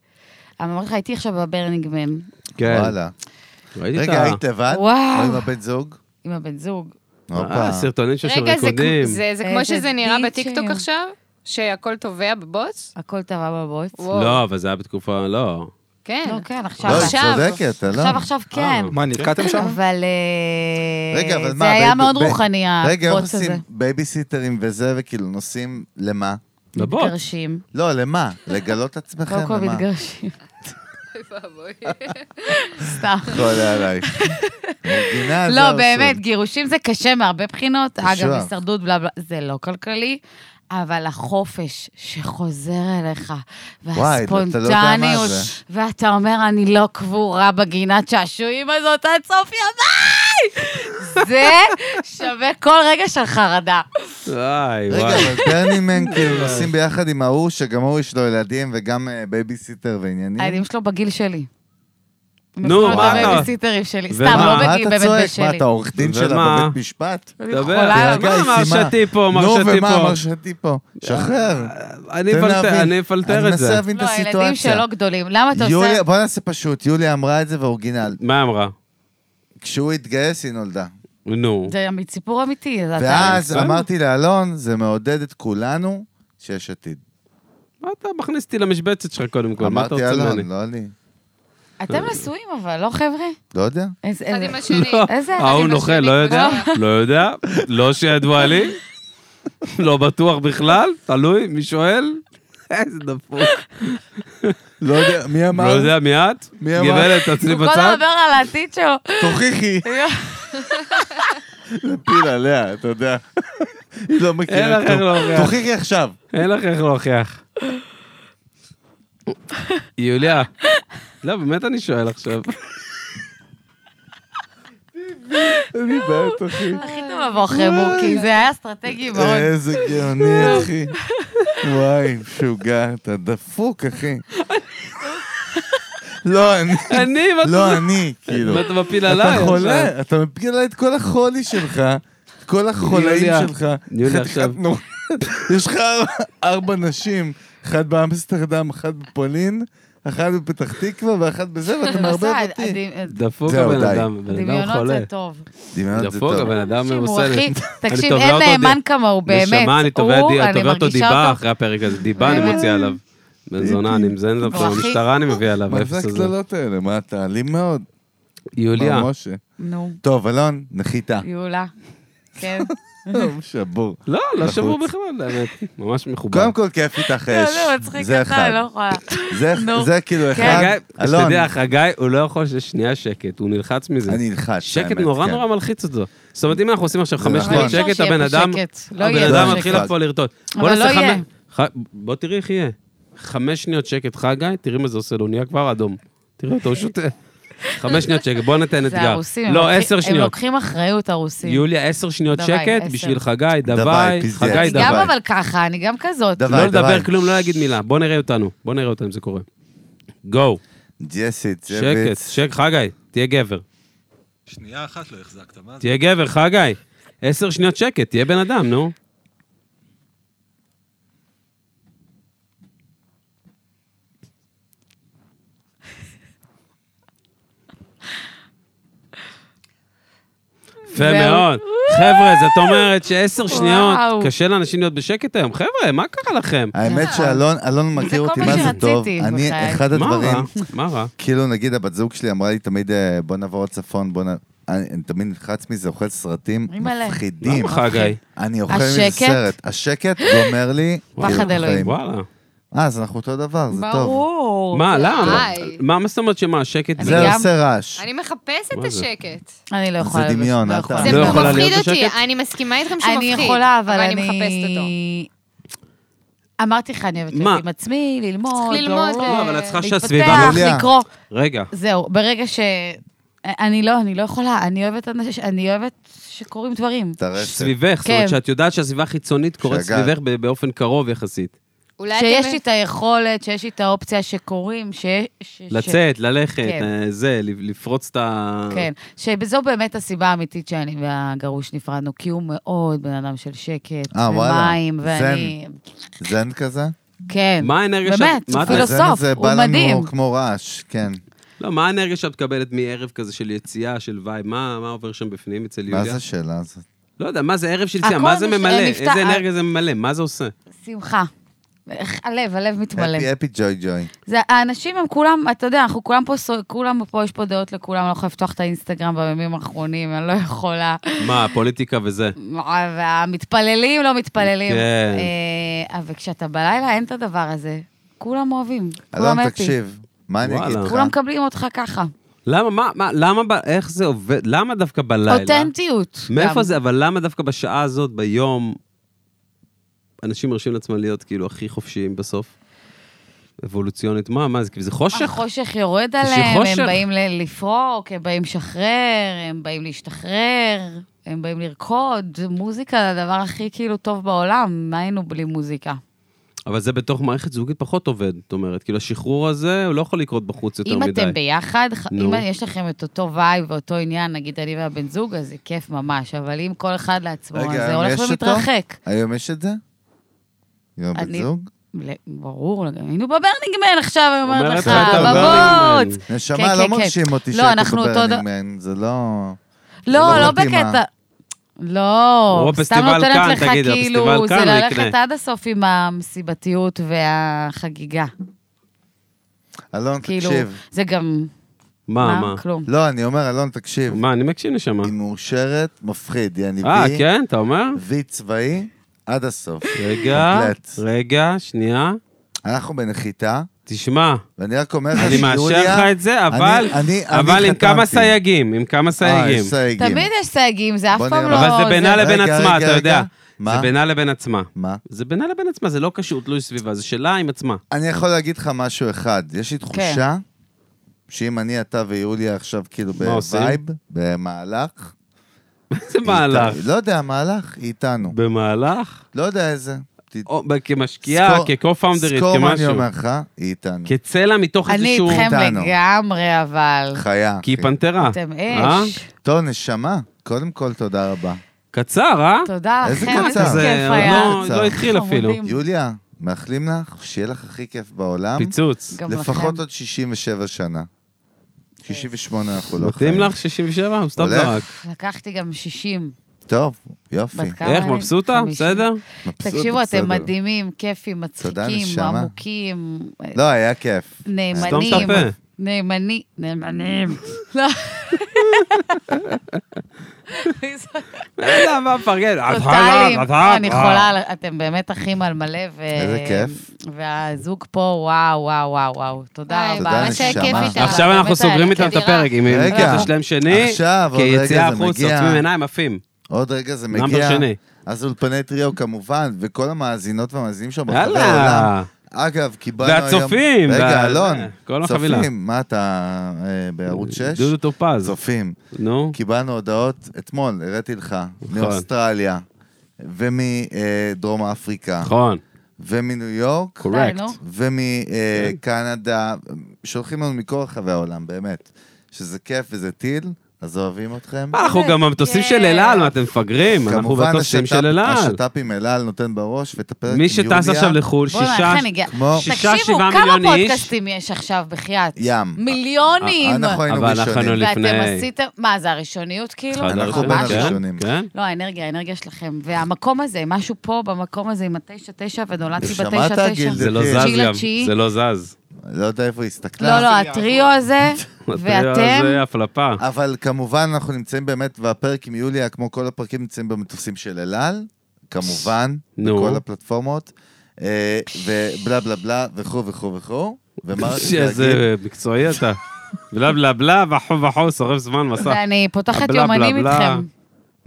אני אומרת לך, הייתי עכשיו בברנינגמן, כן, וואלה. ראיתי את רגע, ה... היית לבד? וואו. או עם הבן זוג? עם הבן זוג. הופה. אה, סרטונים של של רגע, זה ריקודים. כמו- זה זה איזה כמו שזה נראה דיצ'ים. בטיקטוק עכשיו, שהכל טובע בבוץ? הכל טבע בבוץ. וואו. לא, אבל זה היה בתקופה, לא. כן. לא, כן, עכשיו. לא, היא עכשיו. צודקת, אלון. עכשיו, עכשיו, כן. מה, נתקעתם שם? אבל אה, רגע, אבל מה? זה היה בייב- מאוד ב- רוחני, רגע, איך הבוץ הזה. עושים בייביסיטרים וזה, וכאילו נוסעים למה? לבוט. מתגרשים. לא, למה? לגלות עצמכם? קודם כל למה? מתגרשים. סתם. חולה עלייך. מבינה, זה לא, האבסורד. באמת, גירושים זה קשה מהרבה בחינות. אגב, קשוח. הישרדות, בלה בלה, זה לא כלכלי. אבל החופש שחוזר אליך, וואי, אתה לא יודע מה זה. והספונטניות, ואתה אומר, אני לא קבורה בגינת שעשועים הזאת עד סוף ימיי! זה שווה כל רגע של חרדה. וואי, רגע, וואי. אבל ברנימן כאילו נוסעים ביחד עם ההוא, שגם הוא יש לו ילדים וגם אה, בייביסיטר ועניינים. הילדים שלו בגיל שלי. נו, הם מה כל אתה- הבייביסיטרים שלי, סתם, ומה? לא מה בגיל, אתה באמת צועק? בשלי. אה, מה, אתה עורך דין שלה ומה? בבית משפט? דבר, רגע, מה היא אמר סיימה. שתי פה, אמר נו, שתי ומה אמר פה? שתי פה? שחרר. לא, אני תן אפלטר- להבין. אני אפלטר אני את מנסה זה. להבין את לא, הסיטואציה. הילדים שלו גדולים. למה אתה עושה... יוליה, בוא נעשה פשוט, יוליה אמרה את זה ואורגינל. מה אמרה? כשהוא התגייס היא נולדה. נו. זה אמי- סיפור אמיתי. זה אתה- ואז בסדר. אמרתי לאלון, זה מעודד את כולנו שיש עתיד. מה אתה מכניס אותי למשבצת שלך קודם כל? מה אתה אמרתי רוצה אלון, ממני? לא אני. אתם נשואים אבל, לא חבר'ה? לא יודע. איזה... אחד איזה- עם השני. איזה- לא. ההוא אני נוכל, בשני לא יודע, כבר. לא יודע, לא שידוע לי, לא בטוח בכלל, תלוי, מי שואל? איזה דפוק. לא יודע, מי לא יודע מי את? מי אמר? גברת, תעצרי הוא כל בצד. הזמן מדבר על העתיד שלו. תוכיחי. נפיל עליה, אתה יודע. היא לא אין מכירה לך איך כלום. להוכיח. תוכיחי עכשיו. אין לך איך להוכיח. יוליה, לא, באמת אני שואל עכשיו. אין לי בעיות, אחי. הכי טוב לבוא אחרי בורקי, זה היה אסטרטגי אה, אה, מאוד. איזה גאוני, אחי. וואי, משוגע, אתה דפוק, אחי. לא, אני. אני, לא, אני, כאילו. מה אתה מפיל עליי? אתה חולה, אתה מפיל עליי את כל החולי שלך, את כל החולאים יוליה, שלך. יוליה, חתיכת עכשיו. נור- יש לך ארבע נשים, אחת באמסטרדם, אחת בפולין, אחת בפתח תקווה ואחת בזה, ואתה מערבב בסדר, אותי. הד- הד- דפוק זהו, הבן די. אדם, בן אדם דמיונות חולה. זה טוב. דמיונות זה דפוק טוב. הבן אדם תקשיב, הוא עושה... לי- הכי... תקשיב, תובע אין אותו נאמן די- כמוהו, באמת. נשמה, אני תובע הוא, די- אני תובע אותו מרגישה דיבה אותו- אחרי הפרק הזה, דיבה אני באמת. מוציא עליו. בן זונה, אני מזיין עליו, הוא הכי- במשטרה אני מביא עליו, מה זה האפס הזה. הקללות האלה? מה, אתה אלים מאוד. יוליה, מה, משה? נו, טוב, אלון, נחיתה. יולה. כן. שבור. לא, לא בחוץ. שבור בכלל, האמת. ממש מכובד. קודם כל, כיף איתך לא, אש. זה מצחיק זה אותה, אחד. לא יכולה. זה- נו. זה כאילו כן. אחד. חגי, אלון, שתדע, חגי, הוא לא יכול ששנייה שקט, הוא נלחץ מזה. אני נלחץ. שקט האמת, נורא כן. נורא מלחיץ אותו. זאת אומרת, אם אנחנו עושים עכשיו זה חמש נכון. שניות אי אפשר שקט, שיהיה פה הבן אדם... שקט. לא הבן יהיה אדם פה מתחיל שקט. פה לרטוט. בוא אבל נעשה לא חמש- יהיה. ח- בוא תראי איך יהיה. חמש שניות שקט, חגי, תראי מה זה עושה לו, הוא נהיה כבר אדום. תראה אותו, הוא שותה. חמש שניות שקט, בוא ניתן זה אתגר. הרוסים, הם לא, לוקחים- עשר הם שניות. לוקחים אחריות, הרוסים. יוליה, עשר שניות דווי, שקט עשר. בשביל חגי, דווי, דווי, פיזדץ. חגי אני גם דווי. אבל ככה, אני גם כזאת. דווי, לא דווי. לדבר כלום, לא להגיד מילה. בוא נראה אותנו, בוא נראה אותנו אם זה קורה. גו, ג'סי, שקט, צ'ביץ. שקט, חגי, תהיה גבר. שנייה אחת לא החזקת, מה זה? תהיה גבר, חגי. עשר שניות שקט, תהיה בן אדם, נו. יפה והוא- מאוד. חבר'ה, זאת אומרת שעשר שניות, וואו. קשה לאנשים להיות בשקט היום. חבר'ה, מה קרה לכם? האמת שאלון אלון מכיר אה. כל אותי, מה מה זה שרציתי, טוב. בחיי. אני, אחד מה הדברים, רע? מה רע? כאילו נגיד הבת זוג שלי אמרה לי תמיד, אה, בוא נעבור לצפון, בוא נ... אני אני תמיד נלחץ מזה, אוכל סרטים אימא'לה. מפחידים. למה חגי? אני אוכל מזה השקט? סרט. השקט גומר לי, פחד כאילו, אלוהים. בחיים. וואלה. אה, אז אנחנו אותו דבר, זה טוב. ברור. מה, למה? די. מה מה זאת אומרת שמה, לא- השקט? אני זה גם- עושה רעש. אני מחפשת את מה זה? השקט. אני לא זה יכולה. לבש- דמיון, לא אל יכולה. ת- זה לא יכולה מפחיד להיות אותי, בשקט? אני מסכימה איתכם שהוא אני מפחיד. יכולה, אבל אני... אני מחפשת אותו. אמרתי לך, אני אוהבת מה? להיות עם עצמי, ללמוד, צריך ללמוד, לא, אה, אבל את צריכה שהסביבה... לא להתפתח, יוליה. לקרוא. רגע, זהו, ברגע ש... אני לא, אני לא יכולה, אני אוהבת אנשים, אני אוהבת שקורים דברים. טרפת. סביבך, זאת אומרת כן. שאת יודעת שהסביבה החיצונית קורית שהגל- סביבך ב- באופן קרוב יחסית. אולי אתם- שיש לי את היכולת, שיש לי את האופציה שקורים, ש... ש- ש- לצאת, ללכת, כן. אה, זה, ל- לפרוץ את ה... כן, שזו באמת הסיבה האמיתית שאני והגרוש נפרדנו, כי הוא מאוד בן אדם של שקט, אה, וואלה. ומים, ואני... זן כזה? כן. מה האנרגיה באמת, שאת- מה הוא את- הזן פילוסוף, הזה הוא בא לנו מדהים. כמו רעש, כן. לא, מה האנרגיה שאת מקבלת מערב כזה של יציאה, של וייב? מה מה עובר שם בפנים אצל מה יוליה? זה השאלה הזאת? לא יודע, מה זה ערב של יציאה? הכל מה זה מש- ממלא? נפתח- איזה אנרגיה זה ממלא? מה זה עושה? שמחה. איך- הלב, הלב מתמלא. הפי הפי ג'וי ג'וי. זה, האנשים הם כולם, אתה יודע, אנחנו כולם פה, סו- כולם פה, יש פה דעות לכולם, אני לא יכולה לפתוח את האינסטגרם בימים האחרונים, אני לא יכולה. מה, הפוליטיקה וזה. והמתפללים לא מתפללים. כן. אה, אבל כשאתה בלילה, אין את הדבר הזה. כולם אוהבים, כולם אלון, הפי. תקשיב, מה אני אגיד וואלה. לך? כולם מקבלים אותך ככה. למה, מה, מה, למה, ב- איך זה עובד? למה דווקא בלילה? אותנטיות. מאיפה גם. זה, אבל למה דווקא בשעה הזאת, ביום, אנשים מרשים לעצמם להיות כאילו הכי חופשיים בסוף? אבולוציונית, מה, מה זה, כי זה חושך? החושך יורד יש עליהם, חושך. הם באים ל- לפרוק, הם באים לשחרר, הם באים להשתחרר, הם באים לרקוד. מוזיקה זה הדבר הכי כאילו טוב בעולם, מה היינו בלי מוזיקה? אבל זה בתוך מערכת זוגית פחות עובד, זאת אומרת, כאילו השחרור הזה, הוא לא יכול לקרות בחוץ יותר אם מדי. אתם ביחד, ח- נו. אם יש לכם את אותו וייב ואותו עניין, נגיד אני והבן זוג, אז זה כיף ממש, אבל אם כל אחד לעצמו, רגע, אז זה היום הולך יש אותו? ומתרחק. היום יש את זה? עם הבן אני- זוג? ל- ברור, לגמרי. היינו בברנינג מן עכשיו, אני אומרת אומרת לך, לך את הברנינג בבוץ. מן. כן, נשמה, כן, לא כן. מרשים אותי לא, שהיית אנחנו אותו בברנינג מן, זה לא... לא, זה לא לא מתאימה. בקטע. לא, או סתם פסטיבל נותנת כאן, לך תגיד, הפסטיבל כאילו, זה כאן, הוא ללכת יקנה. עד הסוף עם המסיבתיות והחגיגה. אלון, כאילו, תקשיב. זה גם, מה, מה? מה? כלום. לא, אני אומר, אלון, תקשיב. מה, אני מקשיב נשמה. היא מאושרת, מפחיד. יעני אה, וי, כן, אתה אומר? וי צבאי, עד הסוף. רגע, קומפלט. רגע, שנייה. אנחנו בנחיתה, תשמע, ואני רק אומר לך אני שיוליה... מאשר לך את זה, אה, אני- אבל אני- אני אבל עם כמה חתמתי. סייגים, עם כמה אה, סייגים. יש סייגים. תמיד יש סייגים, זה אף בוא פעם נראה. לא... אבל זה בינה לבין רגע, עצמה, רגע, אתה יודע. רגע. מה? זה בינה לבין עצמה. מה? זה בינה לבין עצמה, זה לא קשור תלוי סביבה, זה שלה עם עצמה. אני יכול להגיד לך משהו אחד, יש כן. לי תחושה שאם אני, אתה ויוליה עכשיו כאילו מה עושים? בווייב, במהלך... זה מהלך. היא איתנו. לא יודע, מהלך, היא איתנו. במהלך? לא יודע איזה. ת- או ב- כמשקיעה, סקור- כקו-פאונדרית, סקור מה אני כמשהו. אומר לך, היא איתנו. כצלע מתוך אני איזשהו... איתכם איתנו. לגמרי, אבל... חיה. כי היא אחי. פנתרה. אתם אה? אש. טוב, נשמה, קודם כל תודה רבה. קצר, אה? תודה איזה לכם, איזה קצר. זה כיף היה. לא- קצר. לא התחיל אפילו. חמודים. יוליה, מאחלים לך שיהיה לך הכי כיף בעולם, פיצוץ. גם לפחות לכם. עוד 67 שנה. 68 אנחנו לא מתאים לך 67? הוא סתם הולך. זרק. לקחתי גם 60. טוב, יופי. בת כמה איך, אני? מבסוטה? 50. בסדר? מבסוט, תקשיבו, בסדר. אתם מדהימים, כיפים, תודה, מצחיקים, נשמה. עמוקים, אה, לא, היה כיף. סתום את נאמנים. הפה. נאמני, נאמנים. לא. יאללה, אה, לא, מה, פרגן? טוטאליים. אני אה, חולה, על- אתם באמת אחים על מלא. ו- איזה כיף. והזוג פה, וואו, וואו, וואו, וואו. תודה היי, תודה, רבה. ממש היה נשמה. כיף איתך. עכשיו אנחנו באמת היה סוגרים לי איתם את כיף. הפרק, עם רגע. מקלט השלם שני, עכשיו, עוד כי רגע יציאה זה החוצה, מגיע. עוצמים עיניים, עפים. עוד רגע זה נאמבר מגיע. שני. אז אולפני טריו כמובן, וכל המאזינות והמאזינים שם ברחבי העולם. יאללה. אגב, קיבלנו היום... והצופים. רגע, וה- אלון, כל החבילה. צופים, מה אתה אה, בערוץ 6? דודו טופז. צופים. נו. קיבלנו הודעות אתמול, הראיתי לך, נכון. מאוסטרליה, ומדרום אפריקה, נכון. ומניו יורק, קורקט. נו. כן. ומקנדה, שולחים לנו מכל רחבי העולם, באמת. שזה כיף וזה טיל, אז אוהבים אתכם. מה, אנחנו גם במטוסים של אל על, מה אתם מפגרים? אנחנו כמובן, במטוסים של אל על. השת"פ עם אל על נותן בראש, ואת הפרק עם מי יוליה, שטס עכשיו לחו"ל, בוא'נה, שישה... איך אני גאה. כמו- שישה, תקשיבו, שבעה כמה מיליון איש. פודקאסטים יש עכשיו, בחייאת? ים. אה, נכון. מיליונים! אנחנו היינו אבל אנחנו ראשונים. היינו ואתם לפני. עשיתם... מה, זה הראשוניות כאילו? אחד אנחנו בין הראשונים, כן, הראשונים. כן. לא, האנרגיה, האנרגיה שלכם. והמקום הזה, משהו פה במקום הזה עם התשע תשע, ונולדתי שמעת, בתשע תשע. גיל? זה לא זה כן. זז תשיעי גם, לתשיעי. זה לא זז. לא יודע איפה היא הסתכלה. לא, לא, הטריו הזה, ואתם... זה אה, הפלפה. אבל כמובן, אנחנו נמצאים באמת, והפרק עם יוליה, כמו כל הפרקים, נמצאים במטוסים של אל על, כמובן, נו. בכל הפלטפורמות, אה, ובלה בלה בלה, וכו' וכו' וכו'. ומה רציתי להגיד? איזה מקצועי אתה. בלה בלה בלה, וחו וחו, שורף זמן מסע. ואני פותחת הבלה, בלה, יומנים בלה. איתכם.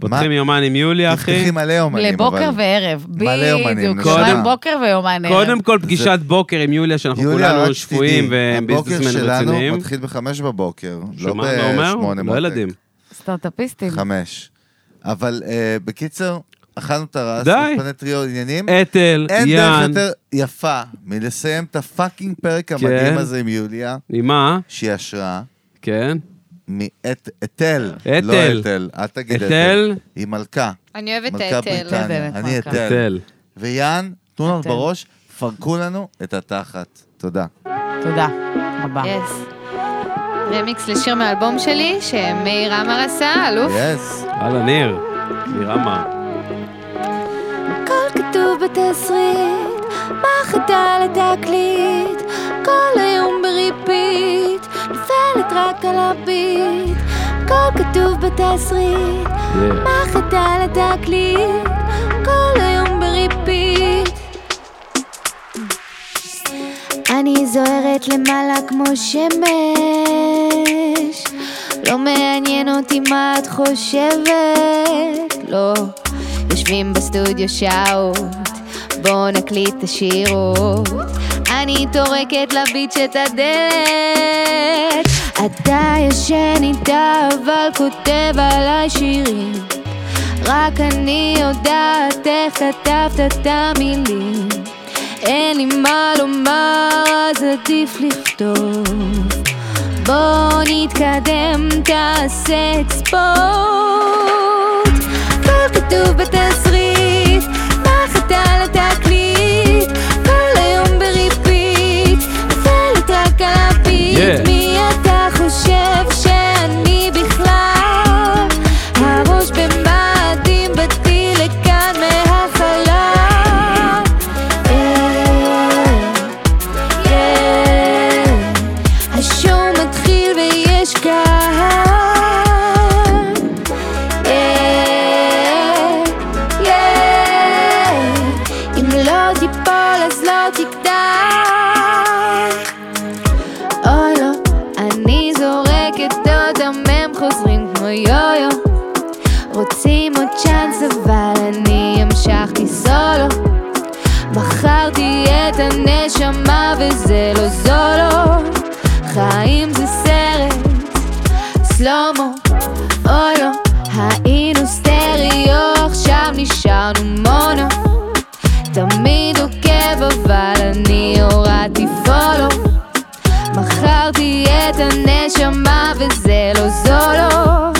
פותחים יומן עם יוליה, אחי. תפתחי מלא יומנים, לבוקר אבל. וערב. מלא יומנים, בדיוק, נשמה. יומן בוקר ויומן ערב. קודם כל פגישת בוקר עם יוליה, שאנחנו יוליה, רק כולנו שתדעי, שפויים וביזנסמנים הבוקר רציניים. שלנו מתחיל בחמש בבוקר, לא שומעת מה הוא בשמונה אומר? לא ילדים. סטארט-אפיסטים. חמש. אבל אה, בקיצר, אכלנו את הרס, די. פני טריו עניינים. אתל, אין דרך יאן, יותר יפה מלסיים את הפאקינג פרק המדהים כן. הזה עם יוליה, ממה? שהיא השראה. כן. מאת אתל. אתל. לא אתל, אל תגיד אתל. אתל. היא מלכה. אני אוהבת את אה, מלכה האתל. כן, בריטניה. באמת אני מלכה. אתל. אתל. ויאן, תנו לנו אתל. בראש, פרקו לנו את התחת. תודה. תודה רבה. יס. רמיקס לשיר מהאלבום שלי, שמאיר עמר עשה, אלוף. יס. הלאה, ניר. ניר עמר. הכל כתוב בתסריט, מה חטא לתקליט, כל היום בריפיט, נופלת רק על הביט, הכל כתוב בתסריט, מה חטא לתקליט, כל היום בריפיט. אני זוהרת למעלה כמו שמש, לא מעניין אותי מה את חושבת, לא. יושבים בסטודיו שעות, בואו נקליט את השירות. אני טורקת לביץ' את הדלת. אתה ישן איתה אבל כותב עליי שירים. רק אני יודעת איך כתבת את המילים. אין לי מה לומר, אז עדיף לכתוב. בוא נתקדם, תעשה את ספורט. הכל כתוב בתסריט, נחת על התקליט, כל היום בריפיט, נפלת רק על הביט. Yeah. מי אתה חושב שאני בכלל? הראש במאדים, באתי לכאן מהחלל. Yeah, yeah. השואו מתחיל ויש קהל. Yeah, yeah. אם לא תיפול אז לא תגדל. אוי לא, אני זורקת אותם, הם חוזרים כמו יו-יו. רוצים עוד צ'אנס אבל אני המשכתי סולו. מכרתי את הנשמה וזה לא זולו חיים זה סרט, סלומו, אוי לא היינו סטריאו, עכשיו נשארנו מונו תמיד עוקב אבל אני הורדתי פולו מכרתי את הנשמה וזה לא זולו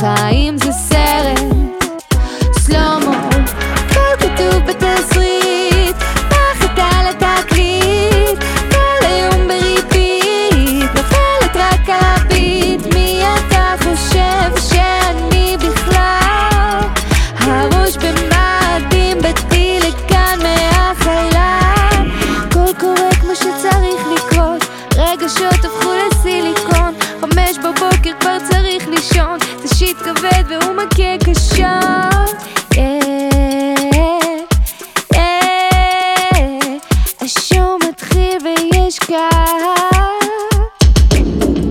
חיים זה סרט, סלומו, הכל כתוב בתסריט, מה חטא לישון, זה שיט כבד והוא מכה קשות. אה, Yeah. אה, השואו מתחיל ויש קהל.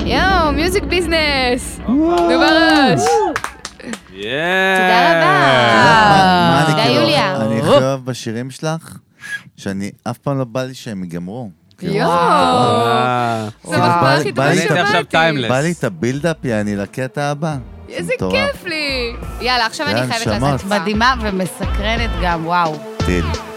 יואו, מיוזיק ביזנס! נו בראש! תודה אה, רבה. מה אני תודה, כאילו, יוליה. אני הכי אוהב בשירים שלך, שאני אף פעם לא בא לי שהם ייגמרו. כאילו, יואו! אה, נכון. זה המחמאה הכי בא טובה לי את- זה עכשיו ששמעתי. טיימלס. בא לי את הבילדאפ, יעני, לקטע הבא. איזה מטורף. כיף לי! יאללה, עכשיו יאללה, אני חייבת נשמות. לעשות מדהימה ומסקרנת גם, וואו. טיל.